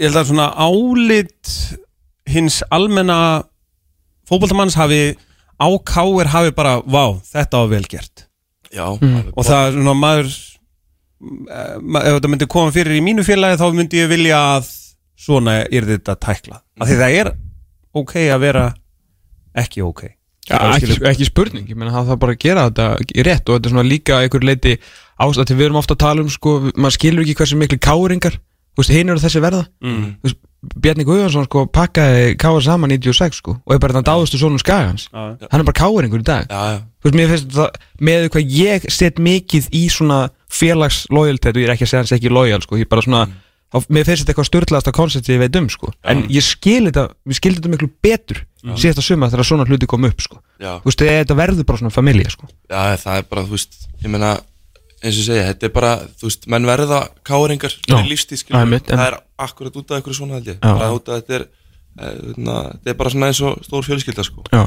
Speaker 3: ég held að svona álit hins almenna fótboltamanns hafi á káir hafi bara, vá, þetta var vel gert.
Speaker 2: já, mm.
Speaker 3: Og það er svona maður, eh, ma- ef þetta myndi koma fyrir í mínu félagi þá myndi ég vilja að svona er þetta tæklað. Af því það er ok að vera ekki ok.
Speaker 1: Já, ekki, ekki spurning, ég meina það þarf bara að gera þetta rétt og þetta er svona líka einhver leiti ástætt við erum ofta að tala um sko, maður skilur ekki hversu miklu káringar hinn eru þessi verða mm. veist, Bjarni Guðjónsson sko, pakkaði káar saman 96 sko, og er bara þannig dáðustu sonum skagans
Speaker 3: Já,
Speaker 1: hann er bara káringur í dag
Speaker 2: já, já,
Speaker 1: Þú veist, mér finnst það, með hvað ég set mikið í svona félags loyaltet og ég er ekki að segja hans ekki lojal, sko, ég bara svona
Speaker 3: Mm.
Speaker 1: þá, mér finnst þetta eitthvað störtlaðasta koncept sem ég veit um, sko, en ég skil þetta við skildi þetta miklu betur síðast að suma þegar svona hluti kom upp, sko
Speaker 2: Já.
Speaker 1: þú veist, þetta verður bara svona familja, sko
Speaker 2: Já, það er bara, þú veist, ég meina eins og ég segja, þetta er bara, þú veist, menn verða káringar
Speaker 1: Já.
Speaker 2: í lífstíð, skilur
Speaker 1: Einmitt,
Speaker 2: það
Speaker 1: einmitt.
Speaker 2: er akkurat út af einhverju svona held ég
Speaker 1: Já.
Speaker 2: bara út af þetta er, hérna, þetta er bara svona eins og stór fjölskylda sko.
Speaker 1: Já,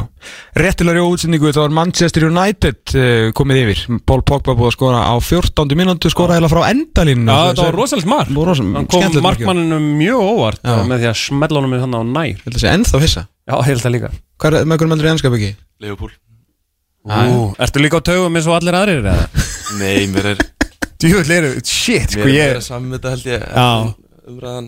Speaker 1: réttilega í útsendingu þá var Manchester United uh, komið yfir Paul Pogba búið að skora á 14. mínútu skora heila frá endalínu
Speaker 3: Já, þetta var rosalegt mark
Speaker 1: Var rosa-
Speaker 3: Hann kom
Speaker 1: skemmtilegt mark.
Speaker 3: markmanninu mjög óvart
Speaker 1: Já.
Speaker 3: með því að smella honum hann á nær
Speaker 1: Þetta sé ennþá hissa
Speaker 3: Já, heil það líka
Speaker 1: Hvað er með einhverjum eldur í ennskap ekki?
Speaker 2: Leifupúl
Speaker 3: Ú, Ertu líka á taugum eins og allir aðrir eða?
Speaker 2: Nei, mér er,
Speaker 3: Djúvill eru,
Speaker 2: mér
Speaker 3: shit, sko
Speaker 2: er
Speaker 3: ég
Speaker 2: meira saman með þetta held ég
Speaker 3: Já.
Speaker 2: Umræðan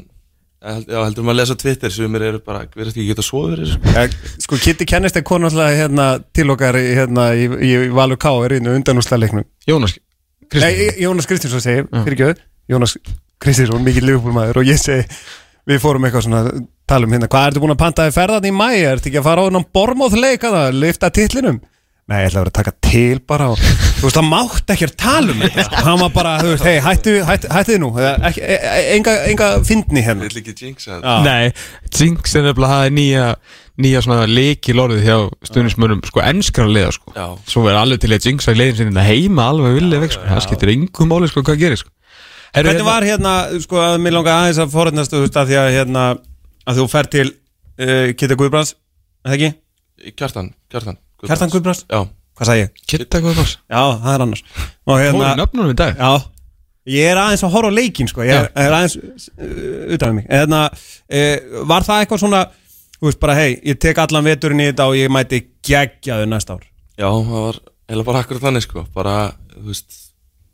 Speaker 2: Já, held- já, heldur maður að lesa á Twitter sem mér eru bara, við erum ekki geta að sofa fyrir þessu, sko.
Speaker 3: Ja, Sko, Kitty kennist er konu alltaf hérna, til okkar í- hérna, í, í, í Valur K er einu undanúsleiknum
Speaker 1: Jónas
Speaker 3: Nei,
Speaker 1: Kristján
Speaker 3: Í- Jónas Kristinsson segir, fyrir Jónas Kristinsson, mikið liðbúlmaður og ég segi, við fórum eitthvað svona tala um hérna, hvað ertu búin að pantaði ferðan í mæ ertu ekki að fara á hennan bormóðleik að það lifta titlinum? Nei, ég ætla að vera að taka til bara og, þú veist, það mátt ekki að tala um þetta, sko. hann var bara, þú veist, hei, hættu, hættu, hættu þið nú eða ekki, e, e, enga, enga fyndni
Speaker 2: Ég
Speaker 3: hérna
Speaker 2: vil ekki jinxa þetta.
Speaker 3: Já.
Speaker 1: Nei, Jinx er nefnilega það er nýja nýja svona leikilorðið hjá stuðnismönnum sko ennskra liða sko
Speaker 2: Já.
Speaker 1: Svo verður alveg til að Jinx að leiðin sinna heima alveg vilja vekk sko Það skiptir engum máli sko hvað gerir sko Heru,
Speaker 3: Hvernig var hérna, sko, að mér langar aðeins að forðnast, þú veist, að því að hérna, að þú fer til uh, Kitta Guðbrands, er það ekki?
Speaker 2: Eh, Kjartan, Kjartan Guðbrands.
Speaker 3: Kjartan Guðbrands?
Speaker 2: Já,
Speaker 3: Hvað sagði ég?
Speaker 1: Kitta hvað var?
Speaker 3: Já, það er annars Og
Speaker 1: Fóru
Speaker 3: hérna,
Speaker 1: nöfnunum í dag
Speaker 3: já Ég er aðeins að horfa á leikinn, sko Ég er, er aðeins uh, utan við mig En hérna, uh, var það eitthvað svona Þú veist bara, hei, ég tek allan veturinn í þetta Og ég mæti geggjaðu næsta ár
Speaker 2: já, það var heila bara akkurat þannig sko bara, þú veist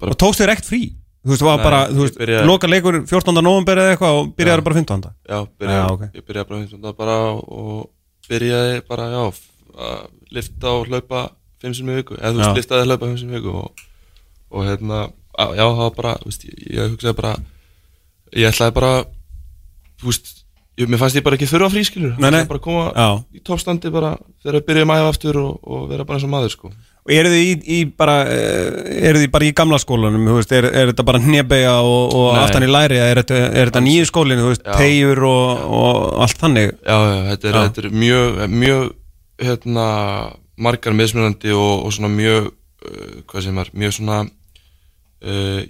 Speaker 3: Og tókst þér ekkert frí Þú veist, það var
Speaker 2: Nei,
Speaker 3: bara, þú
Speaker 2: ég
Speaker 3: veist,
Speaker 2: byrjaði-
Speaker 3: loka leikur 14. november eða eitthvað og byrjaði bara 15.
Speaker 2: Já, byrja,
Speaker 3: Já, Ah, ok.
Speaker 2: ég byrjaði bara 15 daga bara og byrjaði bara, já, f- að lifta og hlaupa 5 sinni í viku, eða þú
Speaker 3: Já.
Speaker 2: veist, liftaði að hlaupa 5 sinni í viku og, og hérna, á- já, það var bara, þú veist, ég, ég hugsaði bara, ég ætlaði bara, þú veist, ég, mér fannst ég bara ekki þurfa frískilur,
Speaker 3: Nei, nei.
Speaker 2: bara að koma
Speaker 3: Já.
Speaker 2: í toppstandi bara þegar við byrjuðum aðeins aftur og, og vera bara eins og maður, sko.
Speaker 3: Og eru þið í, í bara eh, eru þið bara í gamla skólanum, þú veist, er, er þetta bara hnebega og, og
Speaker 2: Nei.
Speaker 3: aftan í læri eða er þetta, er þetta nýju skólinu, þú veist,
Speaker 2: Já.
Speaker 3: tegjur og, og allt þannig
Speaker 2: Já, já, þetta er,
Speaker 3: Já.
Speaker 2: Þetta er mjög, mjög hérna, margar mismunandi og, og svona mjög uh, hvað sem er, mjög svona uh,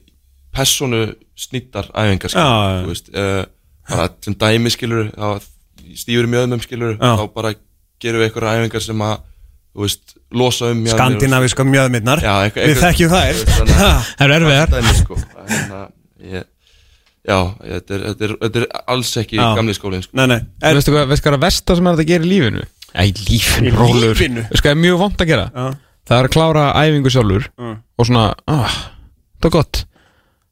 Speaker 2: personu snýttar æfingar
Speaker 3: Já, já.
Speaker 2: skilur, þú veist uh, bara sem dæmi skilur stífur í mjöðumum skilur
Speaker 3: Já.
Speaker 2: þá bara gerum við einhverja æfingar sem að þú veist, losa um mjöðmir og-
Speaker 3: skandinavíska mjöðmyndnar
Speaker 2: Já, eitthvað-
Speaker 3: við
Speaker 2: eitthvað-
Speaker 3: þekkjum þær
Speaker 2: þú veist, þannig að-
Speaker 1: Það er erfiðar
Speaker 2: dæmi sko hérna, ég, já, þetta er, þetta, er, þetta er alls ekki
Speaker 3: Já.
Speaker 2: gamli skólinn sko.
Speaker 3: Nei, nei, er,
Speaker 1: Veistu hvað, veistu hvað er að versta sem er hægt að gera í lífinu? Æ, lífinu,
Speaker 3: Í
Speaker 1: rólur
Speaker 3: lífinu?
Speaker 1: Veistu hvað er mjög vond að gera?
Speaker 3: Já. Mm.
Speaker 1: Það er að klára æfingu sjálfur og svona, ah, það er gott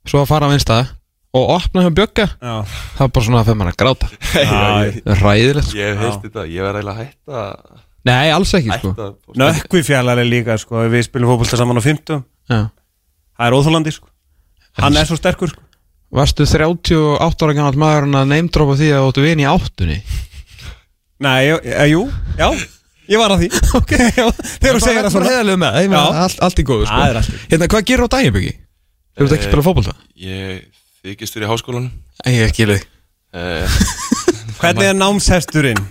Speaker 1: Svo að fara á einstað og opna hjá bjögga
Speaker 3: já,
Speaker 1: Það er bara svona að fyrir mann að gráta
Speaker 3: já,
Speaker 1: Það er Ræðilegt sko.
Speaker 2: ég hef heilt þetta, ég verð eiginlega hætt að
Speaker 1: Nei, alls ekki sko.
Speaker 2: hætt að
Speaker 3: nökkvi fjallar er líka sko, við spilum fótbolta saman á 50
Speaker 1: Já.
Speaker 3: það er óþólandi sko. hann er svo sterkur sko.
Speaker 1: Varstu 38 ára gammal maður en að neymdrópa því að þú áttu vin í áttunni
Speaker 3: nei, e, e, jú, já ég var að því okay. þegar þú segir það
Speaker 1: bara
Speaker 3: svona
Speaker 1: heðalegu með það, ég meina,
Speaker 3: Já.
Speaker 1: allt, allt í góðu sko.
Speaker 3: Það er allt í góðu.
Speaker 1: Hérna, hvað gerir á daginn byggi? Þú ert ekki að spila fótbolta?
Speaker 2: Ég þykist fyrir háskólanum
Speaker 1: Æ, Ég ekki leið
Speaker 2: uh,
Speaker 3: hvernig er námshesturinn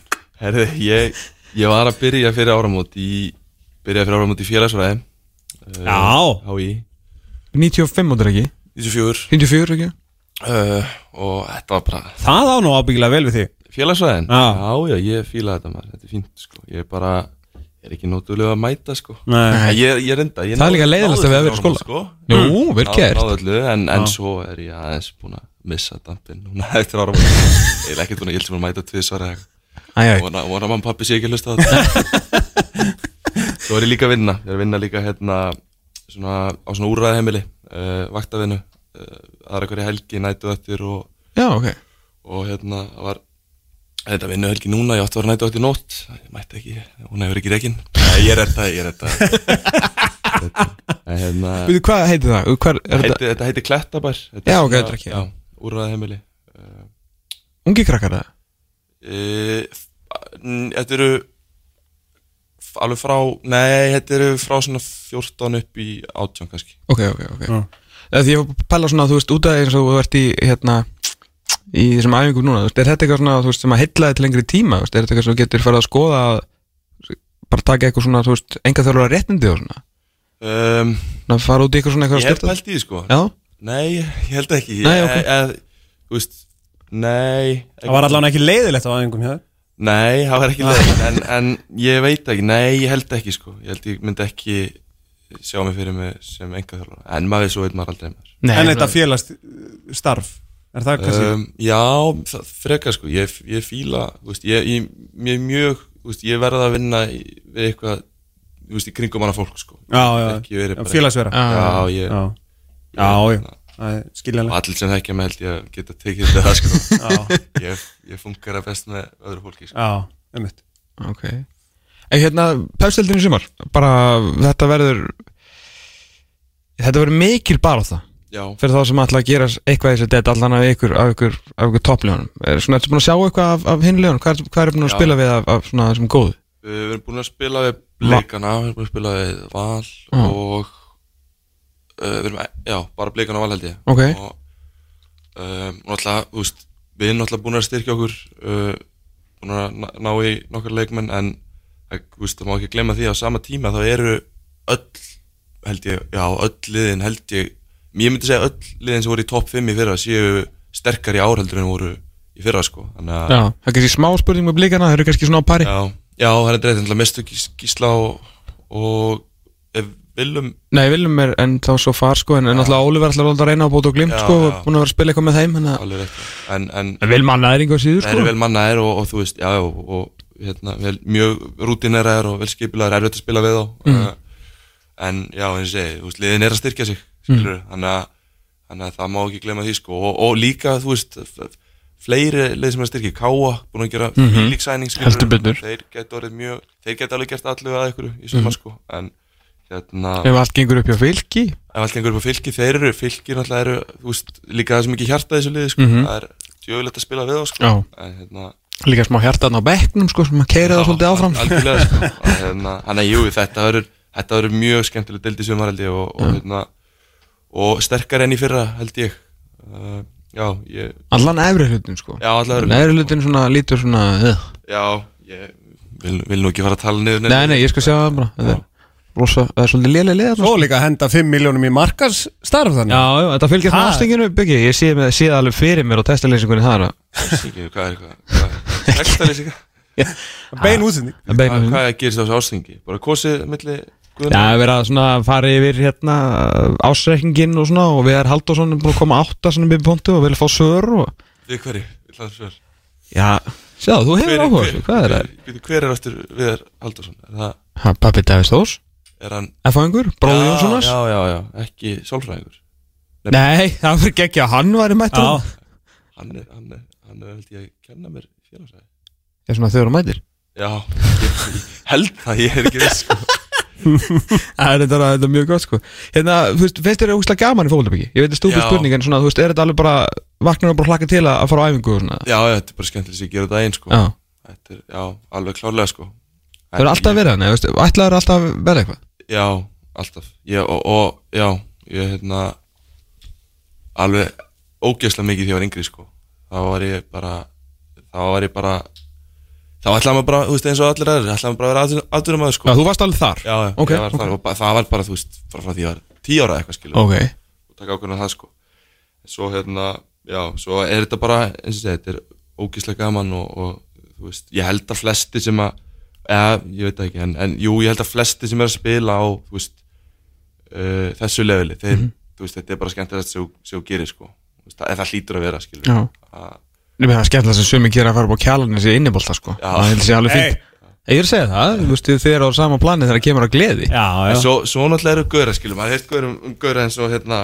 Speaker 2: Herði, ég, ég var að byrja fyrir áramót í Byrjaði fyrir áramót í félagsfræði uh,
Speaker 3: Já.
Speaker 2: HÍ
Speaker 1: 95 mótur ekki?
Speaker 2: 94
Speaker 1: 94 ekki?
Speaker 2: uh, Og þetta var bara
Speaker 3: það á nú ábyggilega vel við því
Speaker 2: Félagsfræðin?
Speaker 3: Já.
Speaker 2: já, ég fíla þetta maður Þetta er fínt sko Ég er bara Ég er ekki nótulega að mæta sko
Speaker 3: nei.
Speaker 2: En Ég, ég reynda ég
Speaker 1: Það er
Speaker 2: náði-
Speaker 1: líka leiðilegast
Speaker 2: náði
Speaker 1: að við að vera í
Speaker 2: fyrir
Speaker 1: skóla
Speaker 2: áramót, sko.
Speaker 1: Jú, vel
Speaker 2: Náði-
Speaker 1: gert
Speaker 2: náði öllu, en, en svo er ég aðeins búin að missa dampin núna eftir áramót Ég er ekkert búin að ég held sem að mæta tvisvar eða eitthvað.
Speaker 1: Æ, æ,
Speaker 2: vona, vona mann pappi sé ekki að hlusta á þetta Svo er ég líka að vinna Ég er að vinna líka hérna svona, á svona úrræðheimili uh, vaktavinnu uh, aðra hverja helgi nætu öttir og,
Speaker 1: já, ok
Speaker 2: og hérna það var þetta vinnu helgi núna, ég átti að vera nætu öttir nótt ég mætti ekki, hún hefur ekki reikin Nei, ég er þetta, ég er þetta En hérna
Speaker 1: Veitu, hvað heitir það? Hvað er
Speaker 2: heiti,
Speaker 1: þetta?
Speaker 2: Þetta heiti Klettabær þetta
Speaker 1: Já, ok,
Speaker 2: er svona-
Speaker 1: þetta er ekki-
Speaker 2: Já, úrræðheimili uh,
Speaker 1: Ungi krakkar það?
Speaker 2: Eh, n- Þetta eru f- alveg frá, nei, þetta eru frá svona 14 upp í 18 kannski
Speaker 1: Ok, ok, ok
Speaker 3: Já.
Speaker 1: Þegar ég var að pæla svona, þú veist, út af eins og þú ert í hérna í þessum æfingum núna, þú veist, er þetta eitthvað svona þú veist, sem að heillaði til lengri tíma, þú veist, er þetta eitthvað sem þú getur farið að skoða að bara taka eitthvað svona, þú veist, enga þjálfur að réttindi og svona,
Speaker 2: um,
Speaker 1: svona fara út í eitthvað svona eitthvað
Speaker 2: Ég hef
Speaker 1: styrta-
Speaker 2: pælt í því sko
Speaker 1: Já,
Speaker 2: Nei, ég held ekki
Speaker 1: Nei, ok.
Speaker 2: ég, ég, Þú veist, nei
Speaker 3: það var allavega ekki leiðilegt á aðingum hjá þér
Speaker 2: Nei, það var ekki
Speaker 1: Ah.
Speaker 2: leið en, en ég veit ekki, nei, ég held ekki sko Ég held ég myndi ekki sjá mig fyrir mig sem enga þjálfara En maður svo veit maður aldrei maður
Speaker 1: Nei,
Speaker 3: en þetta félast eh, starf er það kannski
Speaker 2: um, Já, það frekar sko Ég, ég fíla, þú veist, ég, ég, ég er mjög þú veist, Ég verða að vinna í, við eitthvað þú veist, í kringum hana fólk sko
Speaker 3: já, já,
Speaker 2: ekki verið
Speaker 3: já,
Speaker 2: bara-
Speaker 3: félagsvera já,
Speaker 1: Já.
Speaker 2: Já, ég,
Speaker 3: Ah, já, já, það er
Speaker 2: og
Speaker 3: skiljanlega
Speaker 2: allir sem þekkja mig held ég að geta tekið þetta það sko
Speaker 3: já,
Speaker 2: Ég, ég funkar að best með öðru fólki sko.
Speaker 3: já, einmitt
Speaker 1: Ok En hérna, pepsildin í sumar Bara þetta verður Þetta verður mikil bara á það
Speaker 2: Já,
Speaker 1: Fyrir þá sem ætla að gera eitthvað í þessu deitt Allan af ykkur, af ykkur, af ykkur toppljónum er, Svona, ertu búin að sjá eitthvað af, af hinlegunum? Hvað, er- hvað er búin að
Speaker 2: Já.
Speaker 1: spila við af, af svona þessum góðu?
Speaker 2: við við erum búin að spila við blikana, við erum búin að spila við val
Speaker 3: Mm.
Speaker 1: Já.
Speaker 2: og uh, við erum, já, bara blikana og val held ég
Speaker 1: Ok.
Speaker 2: og um, náttúrulega, þú veist, við erum náttúrulega búin að styrkja okkur uh, búin að ná- ná í nokkar leikmenn en það, þú veist, það má ekki glemma því að á sama tíma þá eru öll held ég, já, öll liðin held ég ég myndi segja öll liðin sem voru í topp 5 í fyrra séu sterkari í ár heldur en voru í fyrra sko, þannig að
Speaker 1: Já, það er kannski smá spurning með blikana Það eru kannski svona á pari
Speaker 2: Já, já það er dreitt, þannig að mestu gísla og, og ef viljum
Speaker 1: Nei, Viljum er en þá svo far sko En, en alltaf Oliver ætlar alltaf að reyna að bóta og glimt
Speaker 2: Já,
Speaker 1: sko
Speaker 2: já.
Speaker 1: og Búin að vera að spila eitthvað með þeim hana,
Speaker 2: alveg rétt, en, en
Speaker 1: Vel mannaðir yngur síður
Speaker 2: það eru
Speaker 1: sko
Speaker 2: vel mannaðir og, og þú veist, já, og, og hérna, vel, mjög rútineraðir og vel skipilaðir, erfitt að spila við þá
Speaker 1: Mm.
Speaker 2: uh, en já, eins og ég segi, þú veist, liðin er að styrkja sig, skilur,
Speaker 1: Mm.
Speaker 2: þannig að þannig að það má ekki glemma því, sko og, og líka, þú veist, f- fleiri lið sem er að styrkja, Káa, búin að gera mm -hmm. fílíksæning, skilur,
Speaker 1: Mhm. Heldur betur. Mhm.
Speaker 2: þeir geta orðið mjög, þeir geta alveg gert allu að ykkur í sumar, sko, en hérna,
Speaker 1: Ef allt gengur upp hjá fylki
Speaker 2: ef allt gengur upp á fylki, þeir eru fylki náttúrulega eru, þú veist, líka það sem ekki hjarta í þessu liði, sko,
Speaker 1: Mhm.
Speaker 2: það er djöfulegt að spila við þá, sko,
Speaker 1: Já.
Speaker 2: en hérna
Speaker 1: Líka smá hjartaðn á bekknum sko Sem að keira það svolítið áfram
Speaker 2: al- algjörlega, sko, en hérna, hann er jú, þetta verður þetta verður mjög skemmtileg deild í sumar held ég og, og hérna, og sterkar enn í fyrra, held ég uh, já, ég,
Speaker 1: Allan efri hlutin sko
Speaker 2: já, allavega
Speaker 1: Neðri hlutin svona lítur svona uh.
Speaker 2: já, ég vil, vil nú ekki fara að tala niður
Speaker 1: Nei, nei, ég skal sjá það bara Þetta er rosa, það er svolítið lélega liða
Speaker 3: svo líka að henda 5 miljónum í markas starf þannig
Speaker 1: Já, já, þetta fylgir
Speaker 3: Ha?
Speaker 1: það afstenginu byggi Ég sé, með, sé það alveg fyrir mér og testalýsingunni það er að-
Speaker 2: nei hvað er, hvað, hvað textalýsing,
Speaker 3: bein útsending
Speaker 1: að beina
Speaker 2: hvað,
Speaker 1: því.
Speaker 2: hvað gerist á þessu ástengi bara kosið milli
Speaker 1: Já,
Speaker 2: Guðna
Speaker 1: við erum að svona fara yfir hérna ásreikningin og svona og við erum Halldórsson er búin að koma átta svona byrjum pontu og við erum að fá sör og
Speaker 2: við hverju, við hlaðum svör
Speaker 1: Já, sjá, þú hefur áhuga á þessu, hvað er það?
Speaker 2: Hver, hver er aftur Viðar Haldursson? Er, það,
Speaker 1: Ha, Pappi Davís Þós,
Speaker 2: er hann
Speaker 1: F.A.ingur, bróði Jónssonars
Speaker 2: Já, já, já, ekki sálfræðingur
Speaker 1: Nei, það fyrir ekki að hann væri mættur
Speaker 3: já,
Speaker 2: Hann er, hann er, hann er held ég að kenna mér félagsæði
Speaker 1: Ég er svona þau eru mættir
Speaker 2: Já, ég, ég held það, ég er ekki viss sko.
Speaker 1: Það er þetta, þetta er mjög gott sko Hérna, þú veist, finnst þér úkslega gaman í fólkvöldabíki? Ég veit að stúpið
Speaker 2: Já.
Speaker 1: spurning en svona, þú veist, er þetta alveg bara vaknar og bara hlakka til að, að fara á æfingu og svona
Speaker 2: Já, já, þetta er bara skemmtileg sem ég gera þetta einn sko.
Speaker 1: Já,
Speaker 2: Þetta er, já, alveg klárlega sko.
Speaker 1: þau eru alltaf verið hann, veist, ætlaður alltaf að verða eitthvað
Speaker 2: Já, alltaf ég, og, og, já, ég hérna Alveg ógeðslega mikið því ég var yngri sko. Þá var ég bara Þá var ég bara Þá ætlaði maður bara, þú veist, eins og allir aðrir Ætlaði maður bara að vera aðdurum aður sko.
Speaker 1: Já, þú varst alveg þar
Speaker 2: já, já,
Speaker 1: Ok,
Speaker 2: ég var þar og ba- það var bara, þú veist, bara frá því ég var tíu ára eitthvað skilur
Speaker 1: Ok,
Speaker 2: og taka ákveðna það sko svo hérna, já, svo er þetta bara eins og segja, þetta er ógíslega gaman og, og þú veist, ég held að flesti sem að, eða, ég veit það ekki en, en jú, ég held að flesti sem er að spila á þú veist, uh, þessu leveli þeir,
Speaker 1: Mhm.
Speaker 2: þú veist, þetta er bara skemmtilegt sem, þú- sem þú gerir sko, Þú veist, það, eða það hlýtur að vera skilur
Speaker 1: Já.
Speaker 2: að,
Speaker 1: ég meina það er skemmtilega sem sumi gera að fara upp á kjalarnis í innibólta sko
Speaker 2: Já.
Speaker 1: Það heldur sé alveg
Speaker 3: Hey.
Speaker 1: fínt Ég er að segja það, þú veist, þið eru á sama plani þegar það kemur að gleði
Speaker 3: já,
Speaker 2: En
Speaker 3: já.
Speaker 2: svo, svo náttúrulega eru gauðra, skilum, maður heilt gauðra um, um gauðra eins og hérna,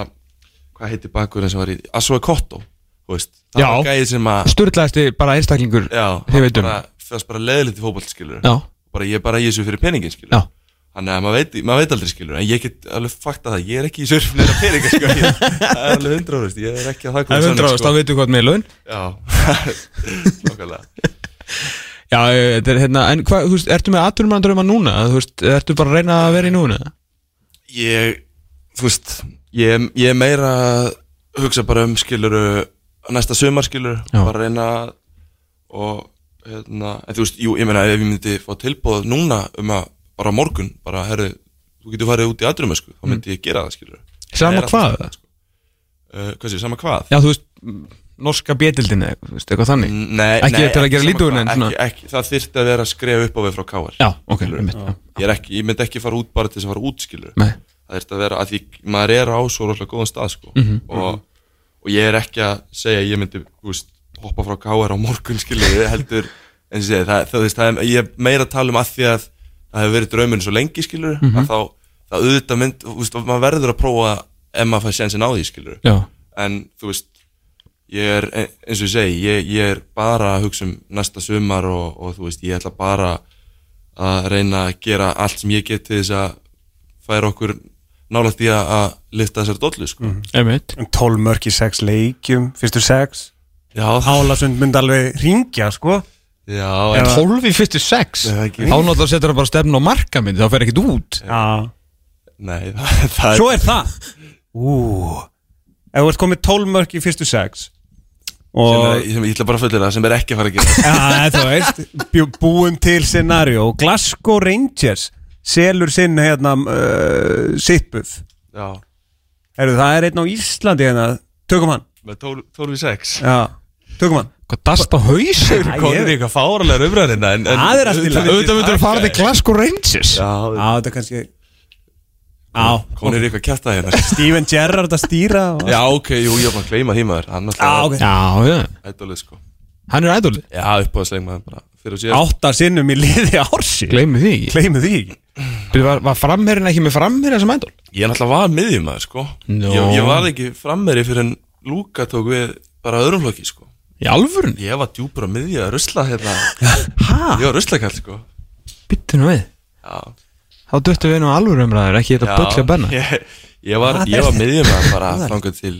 Speaker 2: hvað heitir bakgauðra sem var í, Asua Kotto, þú veist, það
Speaker 1: Já.
Speaker 2: var gæði sem að,
Speaker 1: Sturlaðasti bara einstaklingur
Speaker 2: já,
Speaker 1: Ég veit um.
Speaker 2: bara, fyrst bara leðilegt í fótboll, skilur,
Speaker 1: Já,
Speaker 2: bara ég er bara í þessu fyrir peningin, skilur,
Speaker 1: Já.
Speaker 2: þannig að maður veit, maður veit aldrei, skilur, en ég get alveg fakta það, ég er ekki í surfinu eða peninga, skilur, sko. ég, það er alveg hundra ára, ég er ekki að það
Speaker 1: það er hundra
Speaker 2: sko.
Speaker 1: ást, þá veitum við hvað með laun
Speaker 2: já, okkarlega.
Speaker 1: Já, eh, þetta er hérna, en hvað, þú veist, ertu með atvinnumann drauma núna? Þú veist, ertu bara að reyna að vera í núna?
Speaker 2: ég, þú veist ég, ég er meira að hugsa bara um skiluru næsta sömar skiluru,
Speaker 1: Já.
Speaker 2: bara reyna að- og hérna en þú veist, jú, ég meina ef ég myndi fá tilbúð núna um að bara á morgun bara, herri, þú getur farið út í aðdurum sko, þá myndi ég gera það skiluru
Speaker 1: Mm. Sama
Speaker 2: Það er alltaf
Speaker 1: hvað?
Speaker 2: skemmtilegt, sko. uh, hvað sé, Eh, sama hvað?
Speaker 1: Já, þú veist, norska bjetildinni, veist, eitthvað þannig
Speaker 2: Nei,
Speaker 1: Ekki
Speaker 2: nei,
Speaker 1: til að gera
Speaker 2: sama
Speaker 1: lítið úr
Speaker 2: hvað,
Speaker 1: henni, en svona-
Speaker 2: ekki, ekki, það þyrfti að vera að skrefa upp á við frá káar
Speaker 1: Já, ok, einmitt, já.
Speaker 2: ég, er ekki, ég myndi ekki fara út bara til þess að fara út skilur
Speaker 1: Nei.
Speaker 2: það þurft að vera að því maður er á svo rosalega góðan stað sko. og, og ég er ekki að segja að ég myndi þú veist, hoppa frá káar á morgun skilur ég heldur en sé, það, það, veist, það, er- ég er meira að tala um að því að það hefur verið draumurinn svo lengi skilur að þá það auðvitað mynd þú veist, maður verður að prófa ef maður fær sjansin á því skilur
Speaker 1: Já,
Speaker 2: en þú veist ég er, e, eins og ég segi, ég, ég er bara að hugsa um næsta sumar og, og þú veist, ég ætla bara að reyna að gera allt sem ég get til þess að færa okkur nálægt í að, að lifta þessar dollu, sko
Speaker 1: einmitt
Speaker 3: 12 mörk í 6 leikjum, fyrstur 6
Speaker 2: Já,
Speaker 3: Álasund myndi alveg ringja sko
Speaker 2: já,
Speaker 3: Já.
Speaker 2: en,
Speaker 1: 12 í fyrstu 6 Þá
Speaker 2: Nei, það er ekki-
Speaker 1: náttúrulega setur hann bara stefnu á marka minni þá fer ekkert út
Speaker 3: Já.
Speaker 2: nei, það, það er
Speaker 3: Svo er það Ú Ef þú ert komið 12 mörk í fyrstu 6
Speaker 2: sem,
Speaker 3: Og
Speaker 2: að, sem ég ætla bara að fulla það sem er ekki að fara að gera
Speaker 3: Já, þú veist, bjú, búum til scenario Glasgow Rangers selur sinn hérna uh, sittbuff
Speaker 2: Já,
Speaker 3: Heru, það er einn á Íslandi hérna tökum hann
Speaker 2: með 12 í 6
Speaker 3: já, tökum hann
Speaker 1: Hvað dast á hausur?
Speaker 3: Æ,
Speaker 2: Konur
Speaker 3: ég-
Speaker 2: er eitthvað fáralegar umræðina en, en
Speaker 3: Það er allt í lagi.
Speaker 1: Auðvitað myndur að fara til Glasgow Rangers
Speaker 2: Já,
Speaker 3: já, þetta er kannski já,
Speaker 2: konur er eitthvað kjarta hérna
Speaker 3: Steven Gerrard að stýra og...
Speaker 2: Já, ok, jú, ég var að gleyma því maður Hann
Speaker 3: já,
Speaker 2: alltaf
Speaker 3: ok
Speaker 1: Já, já,
Speaker 2: er ædolið, sko
Speaker 1: hann er ædol
Speaker 2: Já, uppáðslegmaður bara fyrir og síðan
Speaker 3: átta sinnum í liði ársi
Speaker 1: Gleimi því ekki
Speaker 3: gleymið því ekki
Speaker 1: Byrju, Var, var framherrin ekki með framherrin sem ædol?
Speaker 2: Ég er náttúrulega var miðjumæður sko
Speaker 1: Nó.
Speaker 2: ég, ég var ekki frammeri fyrir en Lúka tók við bara öðrum flokki sko
Speaker 1: Í alvörun?
Speaker 2: Ég var djúpur á miðju að rusla hérna
Speaker 1: Hæ?
Speaker 2: Ég var ruslakall sko
Speaker 1: Bittu nú við
Speaker 2: Já,
Speaker 1: Þá döttu við nú alvöru umræður ekki
Speaker 2: já
Speaker 1: þetta böllja benna
Speaker 2: ég, ég var,
Speaker 3: Hvað
Speaker 2: ég
Speaker 3: er
Speaker 2: var
Speaker 3: þetta?
Speaker 2: miðjumæður bara þangað til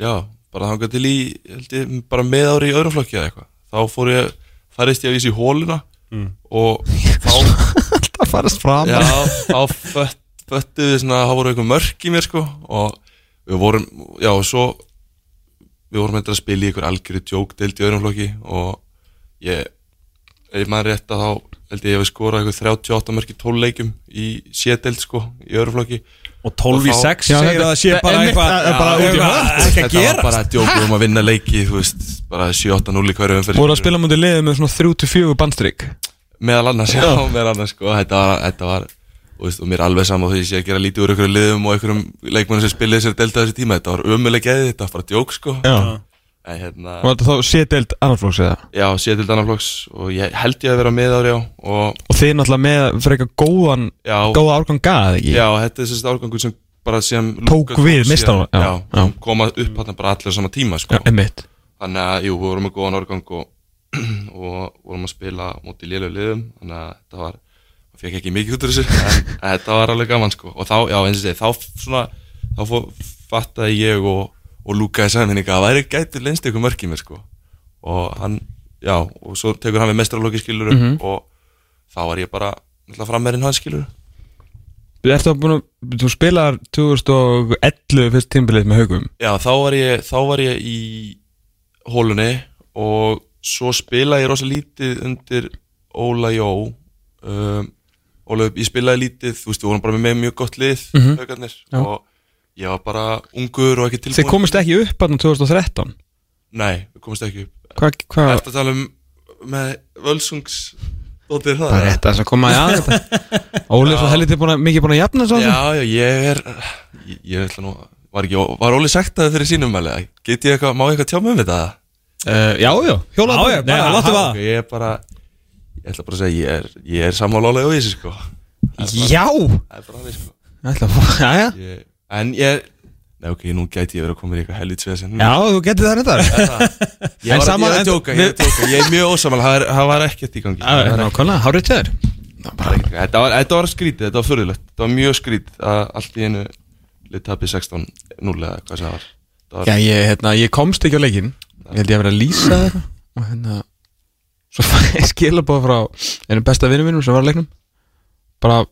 Speaker 2: Já, bara þangað til í held ég, bara með ári í öðrum flokki eða eitthvað Þá fór ég, færist ég að vísi í hóluna og þá
Speaker 1: Það farast fram
Speaker 2: Já, þá fött, föttuðu svona, þá voru einhver mörk í mér sko og við vorum, já og svo við vorum eitthvað að spila í einhver algjörðu djók deild í öðrum flokki og ég, ef maður er rétt að þá held ég að við skorað einhver 38 mörk í 12 leikjum í sédeild sko í öðrum flokki
Speaker 3: og 12 í
Speaker 2: Og þá-
Speaker 3: 6
Speaker 1: Já,
Speaker 3: segir
Speaker 1: þetta-
Speaker 3: að það sé
Speaker 1: Nei,
Speaker 3: bara
Speaker 1: einmitt,
Speaker 3: eitthvað
Speaker 1: það er bara
Speaker 3: Já,
Speaker 1: út í
Speaker 3: eitthvað
Speaker 1: hött.
Speaker 3: ekki að
Speaker 2: Þetta var
Speaker 3: gera
Speaker 2: bara djók um að vinna leiki, þú veist, bara 7-8-0 í hverju umferð
Speaker 1: Voru að spila mútið liðið með svona 3-4 bandstrykk
Speaker 2: meðal annars, já, meðal annars sko, þetta var, þetta var og, veist, og mér er alveg saman því að ég sé að gera lítið úr einhverjum liðum og einhverjum leikmennum sem spilið þessari delta þessi tíma, þetta var ömuleg geðið, þetta var bara djók sko,
Speaker 1: Já
Speaker 2: en hérna
Speaker 1: Og þetta þá sétdeild annarflóks eða
Speaker 2: já, sé til Danaflokks og ég held ég að vera með ári á og
Speaker 1: Og þið náttúrulega með frekar góðan
Speaker 2: já,
Speaker 1: Góða árgang gaði ekki
Speaker 2: já, þetta er þessi árgangur sem bara sem
Speaker 1: Tók við meistarana, já,
Speaker 2: já,
Speaker 1: já.
Speaker 2: sem koma upp hann bara allir á sama tíma sko,
Speaker 1: Emmitt
Speaker 2: þannig að, jú, við vorum með góðan árgang og, og vorum að spila móti lélög liðum, þannig að þetta var maður fekk ekki mikið út úr þessu en en þetta var alveg gaman, sko og þá, já, eins og segi, þá svona þá fó, fattaði ég og, og lúkaði saminninga að væri gæti lenst ykkur mörk í mér, sko og hann, já, og svo tekur hann við mestralóki skilur og þá var ég bara náttúrulega frammerinn hans skilur
Speaker 1: Ertu að búin að Þú spilar 2011 fyrst tímbilið með haugum
Speaker 2: Já, þá var ég, þá var ég í hólunni og svo spilaði ég rosa lítið undir Óla Jó um, Óla, ég spilaði lítið þú veist, við vorum bara með mjög gott lið mm
Speaker 1: Mhm.
Speaker 2: og ég var bara ungur og ekki tilbúin
Speaker 1: Þið komist ekki upp hann 2013
Speaker 2: Nei, við komist ekki upp
Speaker 1: Hvað, hvað
Speaker 2: Eftir að tala um með Völsungs Dóttir það
Speaker 1: Það er
Speaker 2: eða?
Speaker 1: rétt að koma í aðeins Óli er svo helviti búin að, mikið búin að jafna svo
Speaker 2: Já, já, ég er ég, ég ætla nú, var ekki var Óli sagt að það fyrir sínum mæli get ég eitthvað, má ég eitthvað tjá mig um þetta?
Speaker 1: uh, já, já, hjólaði
Speaker 3: Já, já, bara
Speaker 1: Nei,
Speaker 3: láttu
Speaker 1: hann-
Speaker 3: vaða.
Speaker 2: Ok, ég er bara ég ætla bara að segja, ég er, ég er sammálálega og þessi sko
Speaker 1: Já
Speaker 2: það er bara hann sko
Speaker 1: Ætla, að- já, já.
Speaker 2: ég, en ég, nei ok, nú gæti ég verið að koma í eitthvað helvitsveð sem
Speaker 1: já, þú getur það reyndar
Speaker 2: ég
Speaker 1: en
Speaker 2: var
Speaker 1: saman-
Speaker 2: ég er
Speaker 1: en-
Speaker 2: að djóka, ég er að djóka, ég er mjög ósamal það, er- það var ekkert í gangi það var ekkert-
Speaker 1: Nákvæmlega, hárið til þér
Speaker 2: það var ekkert- þetta var, þetta var skrítið, þetta var fyrirlegt þetta var mjög skrítið að allt í einu litabbi 16 0 eða hvað sem það var það var,
Speaker 1: Já, ég, hérna, ég komst ekki á leikinn Ég held ég að vera að lýsa þér Og hérna Svo fæ ég skilabóð frá Einu besta vinnu mínum sem var að leiknum Bara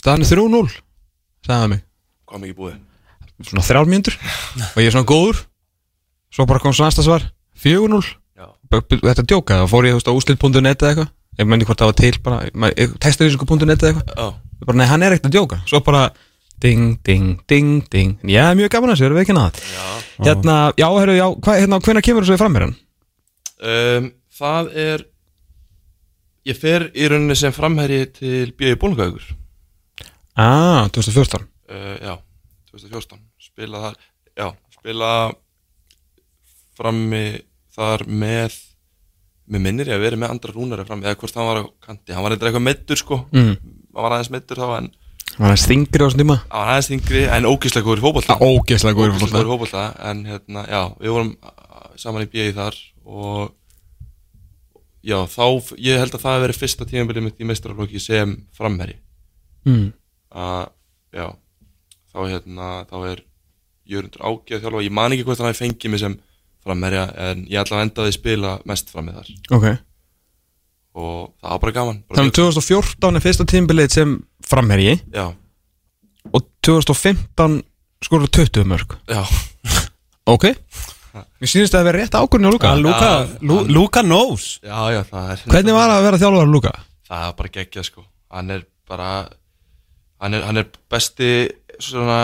Speaker 1: Staðan er 3-0 Sagði hann mig
Speaker 2: kom ekki búið
Speaker 1: Svona þrjár mínútur Og ég er svona góður Svo bara kom svona næsta svar 4-0
Speaker 2: já,
Speaker 1: B- b- Þetta djókaði þá fór ég þú veist, á úslit.net eða eitthvað Ég menni hvort það var til bara Textavísingu.net eða eitthvað
Speaker 2: já,
Speaker 1: Bara nei, hann er ekkert að djóka Svo bara ding, ding, ding, ding Já, mjög gaman að þessu, erum við ekki nátt Hérna, já, herru, já, hva, hérna, hvenær kemur þessu fram hérna?
Speaker 2: um, Það er Ég fer í rauninni sem framherji til B.I. Bólungavíkur
Speaker 1: Ah, 2014
Speaker 2: uh, Já, 2014 Spila þar Já, spila Frammi þar með Mér minnir ég að vera með andra rúnari frammi Eða hvort hann var á kanti Hann var eitthvað eitthvað meittur sko
Speaker 1: Mm.
Speaker 2: Hann var aðeins meittur þá en
Speaker 1: Var það stingri á þessum tíma?
Speaker 2: Hann var aðeins yngri en ógislega góður í fótbolta
Speaker 1: Ógeðslega góður
Speaker 2: Ógeðslega góður í fótbolta En hérna, já, við vorum uh, saman í B.I. þar Og Já, þá, ég held að það hafi verið fyrsta tímabilið mitt í meistaraflóki sem framherji
Speaker 1: mm.
Speaker 2: að já, þá hérna þá er Jörgundur Áki að þjálfa ég man ekki hvort hann hafi fengið mig sem framherja en ég ætla að enda að spila mest fram með þar
Speaker 1: Ok,
Speaker 2: og það var bara gaman bara
Speaker 1: þannig 2014 er fyrsta tímbilið sem framherji
Speaker 2: mjög- já,
Speaker 1: og 2015 skorur 20 mörg
Speaker 2: já,
Speaker 1: Ok Mér sýnist að það vera rétt ákvörðin á Luka
Speaker 3: Að Luka,
Speaker 2: Já,
Speaker 3: Lu,
Speaker 2: hann-
Speaker 3: Luka knows
Speaker 2: já, já, það er
Speaker 1: Hvernig var að vera þjálfur á Luka?
Speaker 2: það var bara geggja sko hann er bara hann er, hann er besti svona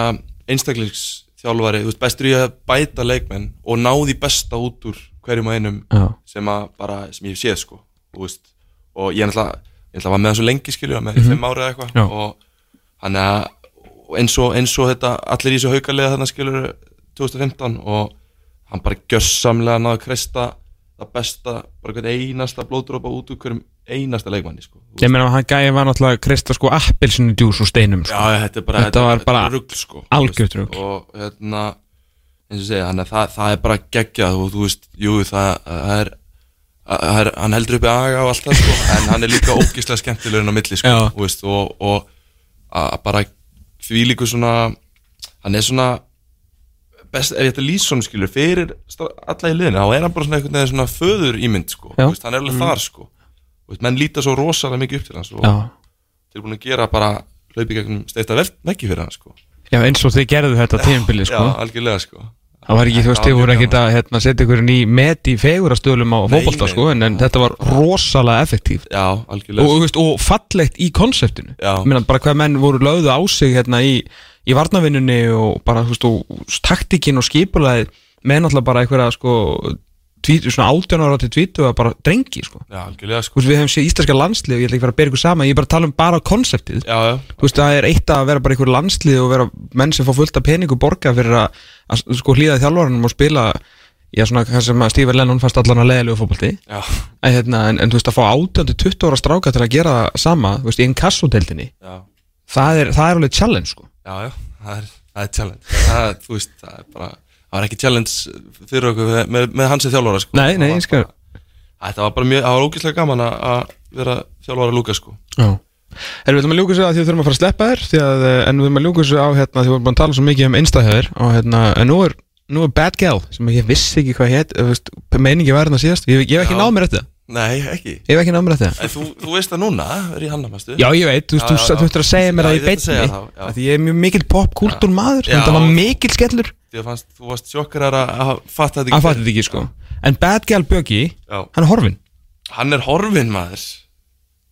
Speaker 2: einstaklingsþjálfari þú veist, bestur í að bæta leikmenn og ná því besta út úr hverjum og einum
Speaker 1: Já
Speaker 2: sem að bara, sem ég hef séð sko þú veist, og ég er náttúrulega ég náttúrulega var með hann svo lengi skilju, með mm -hmm. fimm ára eða
Speaker 1: Já.
Speaker 2: eitthvað og hann er eins og, eins og þetta, allir í þessu haukalega þarna skilur 2015 og hann bara gjörsamlega náðu að kresta það besta, bara hvern einasta blóðdrópa út úr hverjum einasta leikmanni sko Þú
Speaker 1: Ég meina að hann gæði var náttúrulega að kristja sko appelsinu djús úr steinum sko.
Speaker 2: Já, já, þetta er bara,
Speaker 1: Þetta var
Speaker 2: er
Speaker 1: bara
Speaker 2: rugl, sko,
Speaker 1: algjört
Speaker 2: þú veist,
Speaker 1: rugl.
Speaker 2: Og hérna, eins og ég segja, þannig að það, það er bara geggjað og þú veist, jú, það, það er það er- hann heldur uppi aga og allt það sko, en hann er líka ógislega skemmtilegur á milli sko,
Speaker 1: Já.
Speaker 2: þú veist, og, og að bara því líku svona hann er svona best, ef ég ætti að lýsa honum skilur fyrir sta- alla í liðinu, þá er hann bara svona einhvern veginn svona föður ímynd sko,
Speaker 1: Já. Mhm.
Speaker 2: þú veist, hann er alveg þar sko, Þú veist, menn líta svo rosalega mikið upp til hans og,
Speaker 1: Já
Speaker 2: tilbúin að gera bara hlaupi gegnum steikta veggi fyrir hann sko.
Speaker 1: Já, eins og þið gerðu þetta tímbilið
Speaker 2: Já,
Speaker 1: sko
Speaker 2: algjörlega sko.
Speaker 1: Það var ekki, þú veist,
Speaker 2: Þetta
Speaker 1: þið
Speaker 2: var
Speaker 1: voru
Speaker 2: mjög
Speaker 1: ekkert að hérna, setja ykkur ný met í fegurastöðlum á fótbolta
Speaker 2: nei.
Speaker 1: sko en, en þetta var rosalega effektív
Speaker 2: Já,
Speaker 1: og,
Speaker 2: algjörlega sko.
Speaker 1: þú veist, og fallegt í konseptinu
Speaker 2: Já.
Speaker 1: Ég meina bara hvað menn voru lögðu á sig hérna í, í varnavinnunni og bara þú veist, og taktikinn og skipulaði með náttúrulega bara einhverja sko tvít, svona 18 ára til 20 að bara drengi sko
Speaker 2: Já, algjörlega sko.
Speaker 1: Þú veist, við hefum séð íslenska landslið og ég ætla ekki að vera að bera ykkur sama ég er bara að tala um bara konseptið
Speaker 2: Já, já,
Speaker 1: þú veist, það er eitt að vera bara einhver landslið og vera menn sem fá fullt af pening og borga fyrir að, að sko hlýða þjálfvaranum og spila já, svona, hvað sem að Stífur Lennon fannst allan að leiðilegu fótbolti
Speaker 2: já,
Speaker 1: en, hérna, en, en þú veist, að fá 18-20 ára stráka til að gera það sama, þú veist, í einn kassodeldinni
Speaker 2: já,
Speaker 1: það er, það er alveg challenge, sko
Speaker 2: já, já. Það, er, það er challenge það, er- Þú veist, það er bara það var ekki challenge fyrir okkur með, með, með hans sem þjálfara sko.
Speaker 1: Nei, nei,
Speaker 2: Það var
Speaker 1: ég skal-
Speaker 2: bara- Þetta var bara mjög, það var ógeðslega gaman að- að vera þjálfara Lúka sko.
Speaker 1: Já Erum við ætlum að ljúka þessu að því að þurfum að fara að sleppa þér því að, eh, en við erum að ljúka þessu á hérna því við erum búin að tala svo mikið um einstæðhæður og hérna, en nú er, nú er Bad Gal sem ég vissi ekki hvað hétt, eh, þú veist, meiningi var hérna síðast, ég, ég hef ekki
Speaker 2: Já.
Speaker 1: náð mér þetta
Speaker 2: Nei, ekki
Speaker 1: ég hef ekki náð mér þetta
Speaker 2: En þú, þú veist það núna, er í hann að mestu
Speaker 1: Já, ég veit, þú veist,
Speaker 2: Já,
Speaker 1: þú
Speaker 2: já,
Speaker 1: þú
Speaker 2: já.
Speaker 1: ættir að segja mér
Speaker 2: Já,
Speaker 1: það í
Speaker 2: ég ætla að segja
Speaker 1: beinni
Speaker 2: það, já.
Speaker 1: af Því ég er mjög mikill popkúltúr maður
Speaker 2: Já.
Speaker 1: Þetta var mikill skellur
Speaker 2: Ég fannst, þú varst sjokkar að að fatta þetta
Speaker 1: Að fatta þetta ekki, sko En Bad Gal Bjöggi,
Speaker 2: Já.
Speaker 1: hann er horfin
Speaker 2: Hann er horfin maður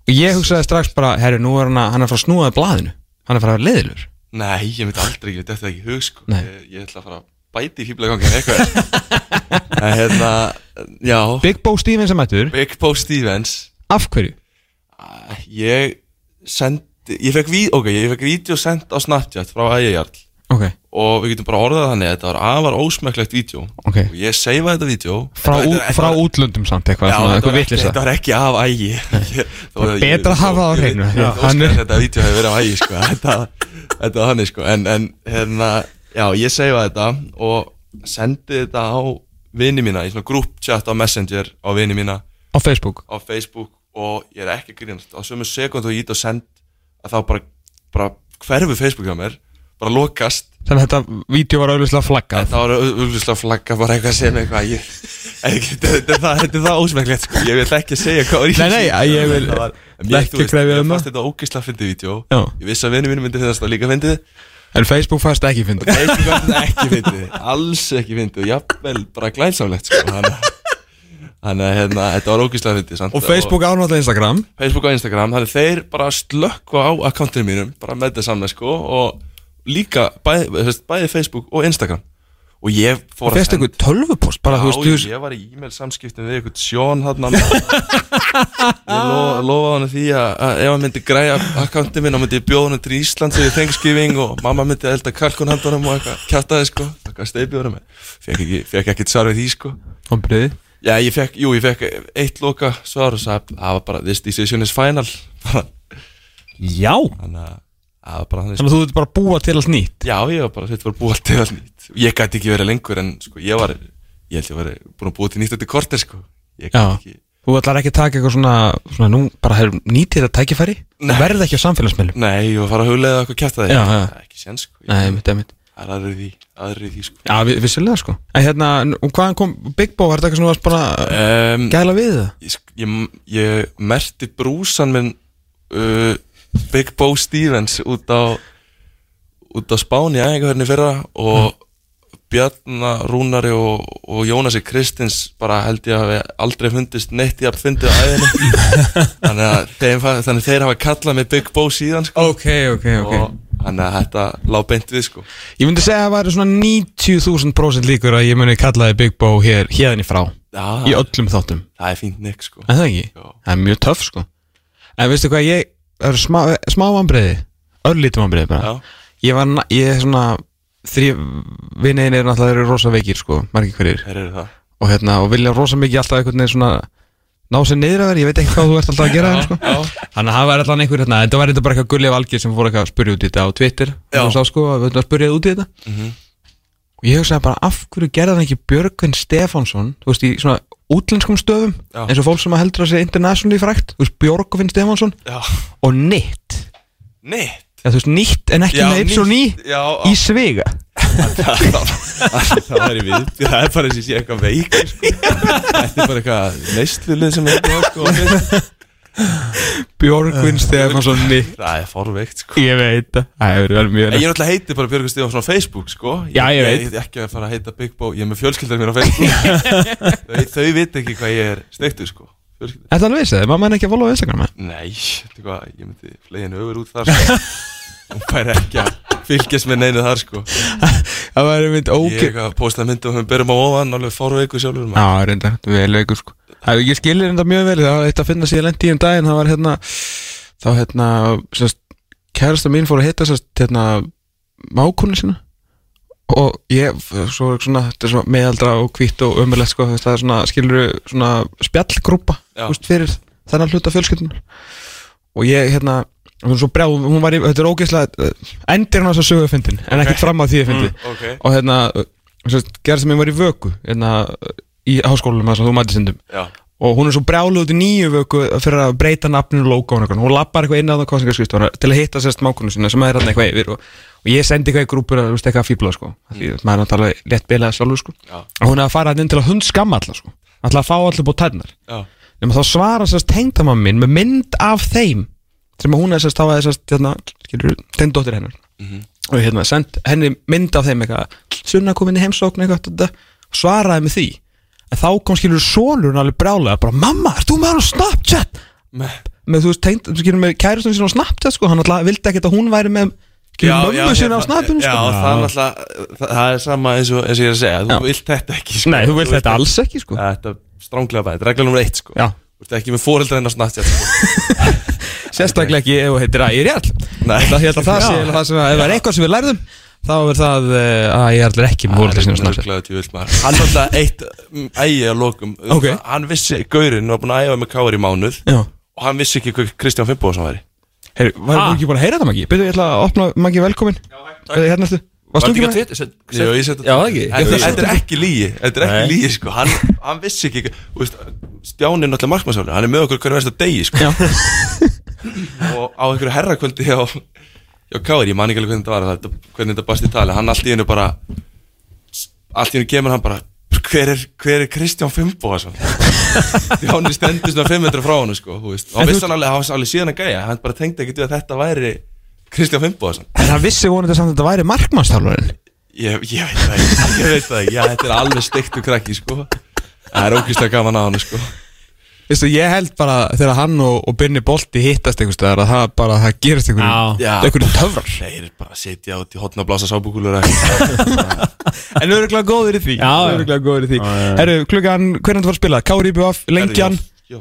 Speaker 1: Og ég hugsaði strax bara, herru, nú er hann að hann er að fara að snúaði blaðinu Hann er að fara að vera leiðilur
Speaker 2: Nei, ég myndi aldrei, ég myndi þetta ekki í hug sko
Speaker 1: Nei.
Speaker 2: ég, ég ætla að fara að bæti í fíblagangin eitthvað En hérna, já
Speaker 1: Big Bo Stevens er mættur,
Speaker 2: Big Bo Stevens
Speaker 1: af hverju?
Speaker 2: Æ, Ég sendi, ég fekk vídeo, ok, ég fekk vídeo sendt á Snapchat frá Ægjarl
Speaker 1: Ok,
Speaker 2: Og við getum bara orðað það þannig, að þetta var afar ósmekklegt vídeo
Speaker 1: ok
Speaker 2: Og ég seifaði þetta vídeo
Speaker 1: Frá,
Speaker 2: Þetta-
Speaker 1: ú,
Speaker 2: þetta-
Speaker 1: frá útlöndum samt eitthvað,
Speaker 2: Já,
Speaker 1: svona,
Speaker 2: þetta
Speaker 1: eitthvað
Speaker 2: var, ekki,
Speaker 1: vitlis
Speaker 2: þetta var ekki af ægi
Speaker 1: Betra að hafa það á hreinu. Já, hann
Speaker 2: Þannig
Speaker 1: er-
Speaker 2: að þetta vídeo hefur verið af ægi sko. þetta, þetta var hann sko. En, en hérna, já, ég segi þetta Og sendi þetta á vini mína Í svona group chat á Messenger Á vini mína á
Speaker 1: Á Facebook
Speaker 2: Facebook Og ég er ekki að grínast Á sömu sekund og ég ít og send Að þá bara, bara hverfu Facebook hjá mér Bara lokast
Speaker 1: Þannig að þetta vídeo var auðvitað flaggað
Speaker 2: Þetta var auðvitað flagga bara eitthvað sem eitthvað ég, ég, þetta, þetta, þetta, þetta er það ósmæklegt sko. Ég vil ekki segja hvað var í
Speaker 1: Nei, nei, að ég vil
Speaker 2: Þetta var- mér,
Speaker 1: ekki
Speaker 2: þú veist,
Speaker 1: krefja um
Speaker 2: Ég fannst
Speaker 1: það.
Speaker 2: þetta ógislega fyndið vídeo
Speaker 1: Já.
Speaker 2: Ég vissi að vinnu mínu myndi finnast það líka fyndið
Speaker 1: En Facebook fæst ekki fyndið
Speaker 2: Facebook var þetta ekki fyndið Alls ekki fyndið Jafnvel bara glænsamlegt sko. Þannig að- þannig að hérna, þetta var ógislega fyndið samt.
Speaker 1: Og Facebook ánáttlega Instagram
Speaker 2: Facebook og Instagram Þannig þeir bara slökku á akkantinu mínum Bara með þetta saman sko Og líka bæði, þú veist, bæði Facebook og Instagram og ég fór
Speaker 1: Það fyrst einhver tölvupost bara,
Speaker 2: Já,
Speaker 1: þú veist, þú veist
Speaker 2: ég var í e-mail samskiptum við eitthvað Sjón hann Ég lo, lofaði hann því að, að ef hann myndi græja akkánti minn þá myndi ég bjóða hann til Ísland sem ég tengskifing og mamma myndi elda kalkun handunum og eitthvað kjartaði sko, eitthvað steipið honum fekk, ekki, fekk ekkert svar við því sko
Speaker 1: Vonbrigði.
Speaker 2: Já, ég fekk, jú, ég fekk eitt loka svar og sagði, það var bara this decision is final þannig
Speaker 3: Já
Speaker 2: að það var bara þannig sko.
Speaker 1: Þannig að þú veit bara búa til allt nýtt
Speaker 2: Já, ég var bara, þetta var búið allt til allt nýtt Ég gæti ekki verið lengur en sko, ég var Ég held ég var búin að búið til nýtt eftir korter sko Ég
Speaker 1: Já.
Speaker 2: gæti ekki
Speaker 1: Þú ætlar ekki að taka eitthvað svona, svona nú, bara her, nýtið þetta tækifæri
Speaker 2: Nei.
Speaker 1: Nei. verð ekki á samfélagsmiðlum
Speaker 2: Nei, ég var að fara að huglega eitthvað kjæfta því
Speaker 1: Já, já.
Speaker 2: Það er ekki sén sko
Speaker 1: Nei,
Speaker 2: Ég-
Speaker 1: mitt, mitt.
Speaker 2: Það er aðrið því, aðrið því sko
Speaker 1: Já, vi- vissulega sko En hérna, n- og hvaðan kom Big Bo, var þetta eitthvað svona varst bara að eh,
Speaker 2: um,
Speaker 1: gæla við það?
Speaker 2: ég, sk- ég, ég merti brúsan minn uh, Big Bo Stevens út á út á Spáni æfingarhörni fyrra
Speaker 1: Mm.
Speaker 2: og Bjarnar Rúnari og, og Jónasi Kristins bara held ég að við aldrei fundist neitt í að fundið á æðinni þannig að þeim, fa- þannig þeir hafa kallað mig Big Bo síðan sko
Speaker 1: Ok, ok,
Speaker 2: og þannig að þetta lá beint við sko
Speaker 1: Ég myndi segja að það væri svona 90.000% líkur að ég muni kalla þið Big Bo hér, hérðinni frá
Speaker 2: Já,
Speaker 1: Í öllum þáttum,
Speaker 2: það er fínt nekk sko
Speaker 1: en það ekki?
Speaker 2: Já.
Speaker 1: Það er mjög töff sko En veistu hvað, ég það eru smá, smá vambriði, örlítum vambriði bara
Speaker 2: Já,
Speaker 1: Ég var, na- ég er svona þrjö, vinniðin er náttúrulega þeir eru rosa veikir sko, margir hverjir
Speaker 2: þeir eru það
Speaker 1: og, hérna, og vilja rosa mikið alltaf einhvern veginn svona ná sér niður að vera, ég veit ekki hvað þú ert alltaf að gera þeim, sko. þannig að það var allan einhver hérna, þetta var eitthvað bara eitthvað gullið valgir sem fór eitthvað að spurja út í þetta á Twitter
Speaker 2: Já. Mhm.
Speaker 1: og sá sko að við ætlum að spurja út í þetta og ég hugsaði bara af hverju gerði hann ekki Björgvin Stefánsson þú veist í svona útlenskum stöfum
Speaker 2: Já.
Speaker 1: eins og fólk sem að heldur að sé internationally frækt þú veist Björgvin Stefánsson
Speaker 2: Já,
Speaker 1: og nýtt,
Speaker 2: neitt
Speaker 1: já, þú veist nýtt en ekki með yps og ný
Speaker 2: Já, á-
Speaker 1: í svega
Speaker 2: það væri við það er bara eins og ég sé eitthvað veik sko. þetta er bara eitthvað neistlilið sem er búið, sko.
Speaker 1: Björgvin Stefánsson nýtt,
Speaker 2: það er forveikt sko.
Speaker 1: ég veit það það hefur verið mjög
Speaker 2: En ég er náttúrulega heiti bara Björgur Stífánsson á Facebook sko.
Speaker 1: Já, ég
Speaker 2: Ég er ekki að fara að heita Big Bo Ég er með fjölskyldar mér á Facebook þau, þau veit ekki hvað ég er steiktu sko. Fjölskyldar.
Speaker 1: Þetta alveg vissi, mamma er ekki að followa á Instagram eða?
Speaker 2: Nei, þetta er hvað Ég myndi fleginu öfur út þar sko. Hún fær ekki að fylgjast með neinu þar sko.
Speaker 1: Það var einmitt
Speaker 2: Ég er
Speaker 1: ógeð
Speaker 2: eitthvað að posta myndum Við berum á ofan alveg forveiku sjálfur maður.
Speaker 1: Já, reyndar, þetta er vel veikur sko Það, Ég skilir þetta mjög vel, það var eitt að finna sér lendi í um daginn Það var hérna Þá hérna, sérst, kærasta mín fór að hitta sérst, hérna, mákunni sína Og ég, svo er svona, þetta er svona meðaldra og hvítt og ömurlegt sko þú veist, Það er svona, skilur svona spjallgrúpa
Speaker 2: Já.
Speaker 1: þú veist, Fyrir þennan hluta fjölskyldunar Og ég, hérna, hún er svo brjá, hún var í, þetta er ógeðslega eh, Endir hann á þess að sögu að fyndin, en ekkert fram að því að fyndi
Speaker 2: Ok,
Speaker 1: og hérna gerð sem ég var í vöku hérna, í háskólanum þar sem þú mætti sindum
Speaker 2: já
Speaker 1: og hún er svo brjáluð út í nýju vöku fyrir að breyta nafninu og logoinu og eitthvað. hún lappar eitthvað inn á það kostningarskristofa til að hitta sérst mákunum sína sem er hérna eitthvað yfir og, og ég sendi eitthvað í grúpur að þú veist eitthvað að fíbla sko Af því maður er náttúrulega létt bilað sjálfur sko
Speaker 2: Já.
Speaker 1: og hún er að fara hérna inn til að hundskamma alla sko alltaf að fá allir búið tærnar
Speaker 2: Já,
Speaker 1: nema þá svarar sérst tengdamann minn með mynd af þeim sem að hún er sérst þá að sérst hérna, skilur, tengdóttir hennar
Speaker 2: Mhm.
Speaker 1: og hérna send henni mynd af þeim eitthvað sunna komin í heimsókn eitthvað þetta, og svaraði með því en þá kom skilur sonurinn alveg brjálega bara mamma, ert þú með hann á Snapchat með þú veist, tengd, skilur með kærustum sín á Snapchat sko, hann alltaf vildi ekkert að hún væri með skilur mömmu sín á
Speaker 2: hérna,
Speaker 1: Snapchat
Speaker 2: Já,
Speaker 1: sko.
Speaker 2: það er alltaf það, það er sama eins og, eins og ég er að segja Þú
Speaker 1: Já.
Speaker 2: vilt þetta ekki sko.
Speaker 1: nei, þú vilt þetta alls ekki sko.
Speaker 2: Þetta er stránglega bæði, þetta er regla nummer eitt sko.
Speaker 1: Já.
Speaker 2: Þú ert ekki með foreldra hennar snart sko.
Speaker 1: sérstaklega ekki ef þú heitir að ég er all
Speaker 2: Nei,
Speaker 1: Ég held að það sé
Speaker 2: Já.
Speaker 1: eiginlega það sem að, ef það er eitthvað sem við lærðum þá er það eh, að ég ætlar ekki með fólkið sinni og snart
Speaker 2: Nörglega tjúvill maður Hann var alltaf eitt mm, ægi að lokum
Speaker 1: Ok.
Speaker 2: Hann vissi, Gaurinn var búin að æfa með káar í mánuð
Speaker 1: Já,
Speaker 2: Og hann vissi ekki hvað Kristján Fimboðsson væri
Speaker 1: heyrðu, varum við ekki búin að heyra þetta Maggi? Byrðu, ég ætla að opna Maggi velkomin Eða hérna ertu Varst þú ekki með?
Speaker 2: Twitter? Jó, ég seti
Speaker 1: Já, það ekki. Ég
Speaker 2: Þetta
Speaker 1: þurfti-
Speaker 2: þetta er ekki lígi Þetta er ekki lígi, sko Hann, hann vissi ekki þú veist, Stjáni er náttúrulega markmannsálur Hann er með okkur hverju verðast degi, sko
Speaker 1: Já.
Speaker 2: Og á einhverju herrakvöldi hjá Já, Káir, ég man ekki alveg hvernig þetta var þetta, Hvernig þetta barst í tali Hann allt í hennu bara Allt í hennu kemur hann bara Hver er, hver er Kristján Fimboðarsson? Stjáni stendur svona 500 frá hann, sko Þú veist
Speaker 1: En
Speaker 2: Og hann
Speaker 1: þú-
Speaker 2: vissi hann alveg, hann var alveg síðan að gæja Hann bara tengdi ekki við að þetta væri Kristján Fimboðarsson
Speaker 1: En hann vissi vonandi samt að þetta væri markmannstálvarinn
Speaker 2: Ég, ég veit það ekki, ég veit það ekki, já þetta er alveg steiktu krakki sko Það er ógeðslega gaman að hann sko
Speaker 1: Veistu, ég held bara þegar hann og, og Binni Bolti hittast einhvers staðar að það bara, það gerist
Speaker 2: Já.
Speaker 1: einhverjum einhverjum töfrar
Speaker 2: Þeir bara sitja út í hotna og blása sábúkulur eða-
Speaker 1: En örugglega góður í því
Speaker 4: Já, já.
Speaker 1: Örugglega góður í því
Speaker 4: Já, já, já.
Speaker 1: Herru, klukkan, hvernig þú var að spila? Kári BF, Lengjan
Speaker 2: Já,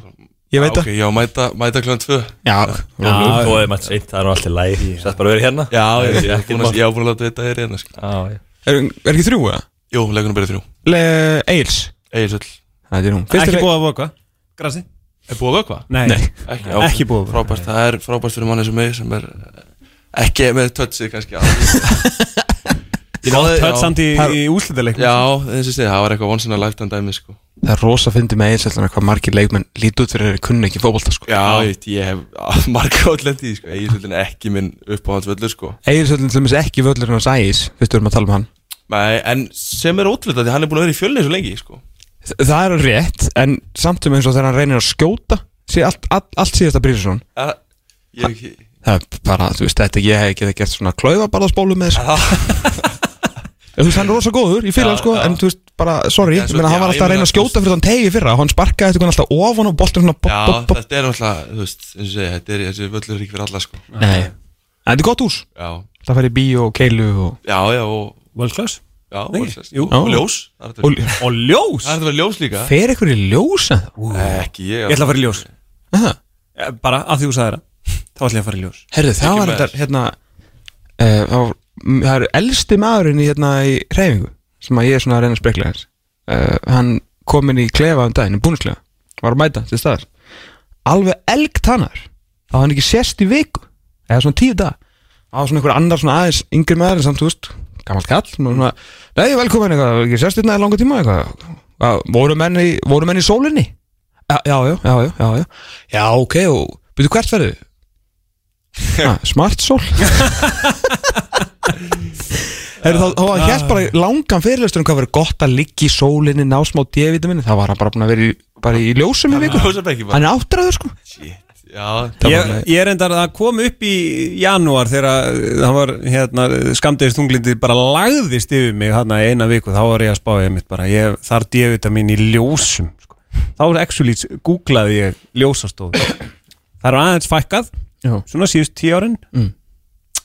Speaker 1: Ég veit
Speaker 2: ok, Já, mæta, mæta kljóðan tvö
Speaker 1: Já,
Speaker 4: Já,
Speaker 1: rólegur.
Speaker 4: þú hefði mætt seint, það er nú alltaf læg Sett bara að vera hérna
Speaker 2: Já, ég
Speaker 4: Það er
Speaker 2: er
Speaker 4: ekki
Speaker 2: búin
Speaker 4: mál.
Speaker 2: að ég á búin að láta þetta er hérna sko.
Speaker 4: Já, já.
Speaker 1: er, er ekki þrjú eða?
Speaker 2: Jú, leikunum byrja þrjú
Speaker 1: Le, Eils
Speaker 2: Egilsöll
Speaker 1: Það er hún
Speaker 3: Ekki
Speaker 1: Fyrstu leik
Speaker 3: búið að voka Grassi?
Speaker 2: Er búið að vökva?
Speaker 3: Nei,
Speaker 1: Nei.
Speaker 2: Ekki,
Speaker 3: Ekki búið að vökva.
Speaker 2: Frábært, það er frábært fyrir manni sem mig sem er eh, ekki með tötsið kannski alveg. Ég náði-
Speaker 3: Töld samt í,
Speaker 1: Það-
Speaker 3: í úslitaleikum
Speaker 2: Já, eins og stið, það var eitthvað once in a lifetime dæmi sko
Speaker 1: Það er rosa fyndi með Eils Þannig hvað margir leikmenn lítu út fyrir þeir kunni ekki fótbolta sko.
Speaker 2: Já, ég, veit, ég hef marga átlend í því, sko Egilsöllin er ekki minn uppáhaldsvöllur sko
Speaker 1: Eils öllum til dæmis ekki völlur hans ægis Fyrstu erum að tala um hann
Speaker 2: Nei, en sem er ótrúlega því hann er búin að vera í fjölni svo lengi sko
Speaker 1: Þa- Það er rétt En samt um eins og þegar hann reynir að skjóta sé allt, allt, allt síðast að brýsa svona
Speaker 2: Það, ég hef ekki
Speaker 1: Það er bara, þú veist, þetta ég hef ekki gert svona klaufabarðaspólu með þessu Þú veist, hann er rosa góður, ég fyrir hann sko En þú veist, bara, sorry,
Speaker 2: Já,
Speaker 1: ég
Speaker 2: svo-
Speaker 1: meina, hann
Speaker 2: já,
Speaker 1: var
Speaker 2: ég
Speaker 1: alltaf að reyna
Speaker 2: meina,
Speaker 1: að skjóta fyrir þann tegi fyrra og Hann sparkaði eitthvað alltaf ofan og boltin svona bop,
Speaker 2: Já,
Speaker 1: bop, bop.
Speaker 2: þetta er náttúrulega, þú veist, eins og segja, þetta er, þessi völlur er ekki fyrir alla, sko.
Speaker 1: Nei, en þetta er gott hús
Speaker 2: Já,
Speaker 1: Það fær í bíó og keilu og,
Speaker 2: já, já, og,
Speaker 3: World class
Speaker 2: já,
Speaker 3: Nei,
Speaker 2: og, sest,
Speaker 3: jú.
Speaker 2: og ljós. Það er hægt
Speaker 1: og
Speaker 2: að-
Speaker 3: Og ljós
Speaker 2: það Eh, er þetta verið ljós líka.
Speaker 1: Fer eitthvað í ljósa þá?
Speaker 2: Nei, ekki ég.
Speaker 3: Ég ætla að fara í ljós
Speaker 1: Aha.
Speaker 3: Eh, Bara að því þú sagði það Þá ætla ég að fara í ljós
Speaker 1: Herðu, það
Speaker 2: Ekki
Speaker 1: var
Speaker 2: með
Speaker 1: þetta, hérna uh, það, var, m- það er elsti maðurinn í hérna í reyfingu sem að ég er svona að reyna að spekla hans uh, Hann kom inn í klefa um daginn, búnisklefa Var að mæta til staðar Alveg elgtannar Það var hann ekki sérst í viku Eða svona tíu dag Það var svona einhver annar svona aðeins yngri maður en samt, þú veist, gammalt kall svona, svona, Nei, velkomin eitthvað, var ekki sérst í langa tíma eitthvað Hvað, Voru menn í, voru menn í sólinni? Já, já, já, já, já, já, já. já ok, og byrju hvert verðu? Ha, smart sól Er þá, þá var hér bara í langan fyrirlestur um hvað verið gott að ligga í sólinni, ná smá D-vitamin Það var hann bara búin að vera í, bara í ljósum í viku
Speaker 2: Ljósa bekki bara.
Speaker 1: Hann er áttræður sko
Speaker 2: Shit, já.
Speaker 1: Það
Speaker 3: Ég,
Speaker 1: var-
Speaker 3: ég reyndar að kom upp í janúar þegar það var hérna, skamdegis tunglindi bara lagðist yfir mig hérna í eina viku, þá var ég að spája mitt bara, ég þarf djöfita mín í ljósum sko. þá er actually googlaði ég ljósastofu það eru aðeins fækkað,
Speaker 1: Já.
Speaker 3: svona síðust tíu árin
Speaker 1: Mm.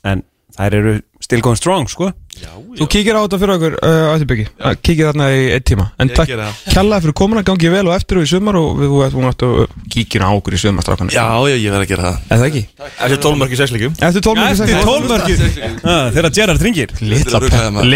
Speaker 3: en þær eru still going strong sko.
Speaker 2: Já, já.
Speaker 1: Þú kíkir á þetta fyrir okkur uh, Ættibyggi, kíkir þarna í einn tíma En
Speaker 2: Ég
Speaker 1: takk
Speaker 2: geri það.
Speaker 1: kjallaði fyrir komuna, gangi vel og eftir og í sumar og við vorum eftir að kíkina uh, á okkur í sumar strákan
Speaker 2: Já, já, ég verð að gera það.
Speaker 1: Er það ekki?
Speaker 4: Eftir tólmarki sexleikum
Speaker 1: Eftir tólmörki
Speaker 3: eftir tólmörkið Ah, þegar Gerard ringir
Speaker 2: Þetta er
Speaker 1: Litla
Speaker 2: ruglaði
Speaker 1: peppa
Speaker 2: maður.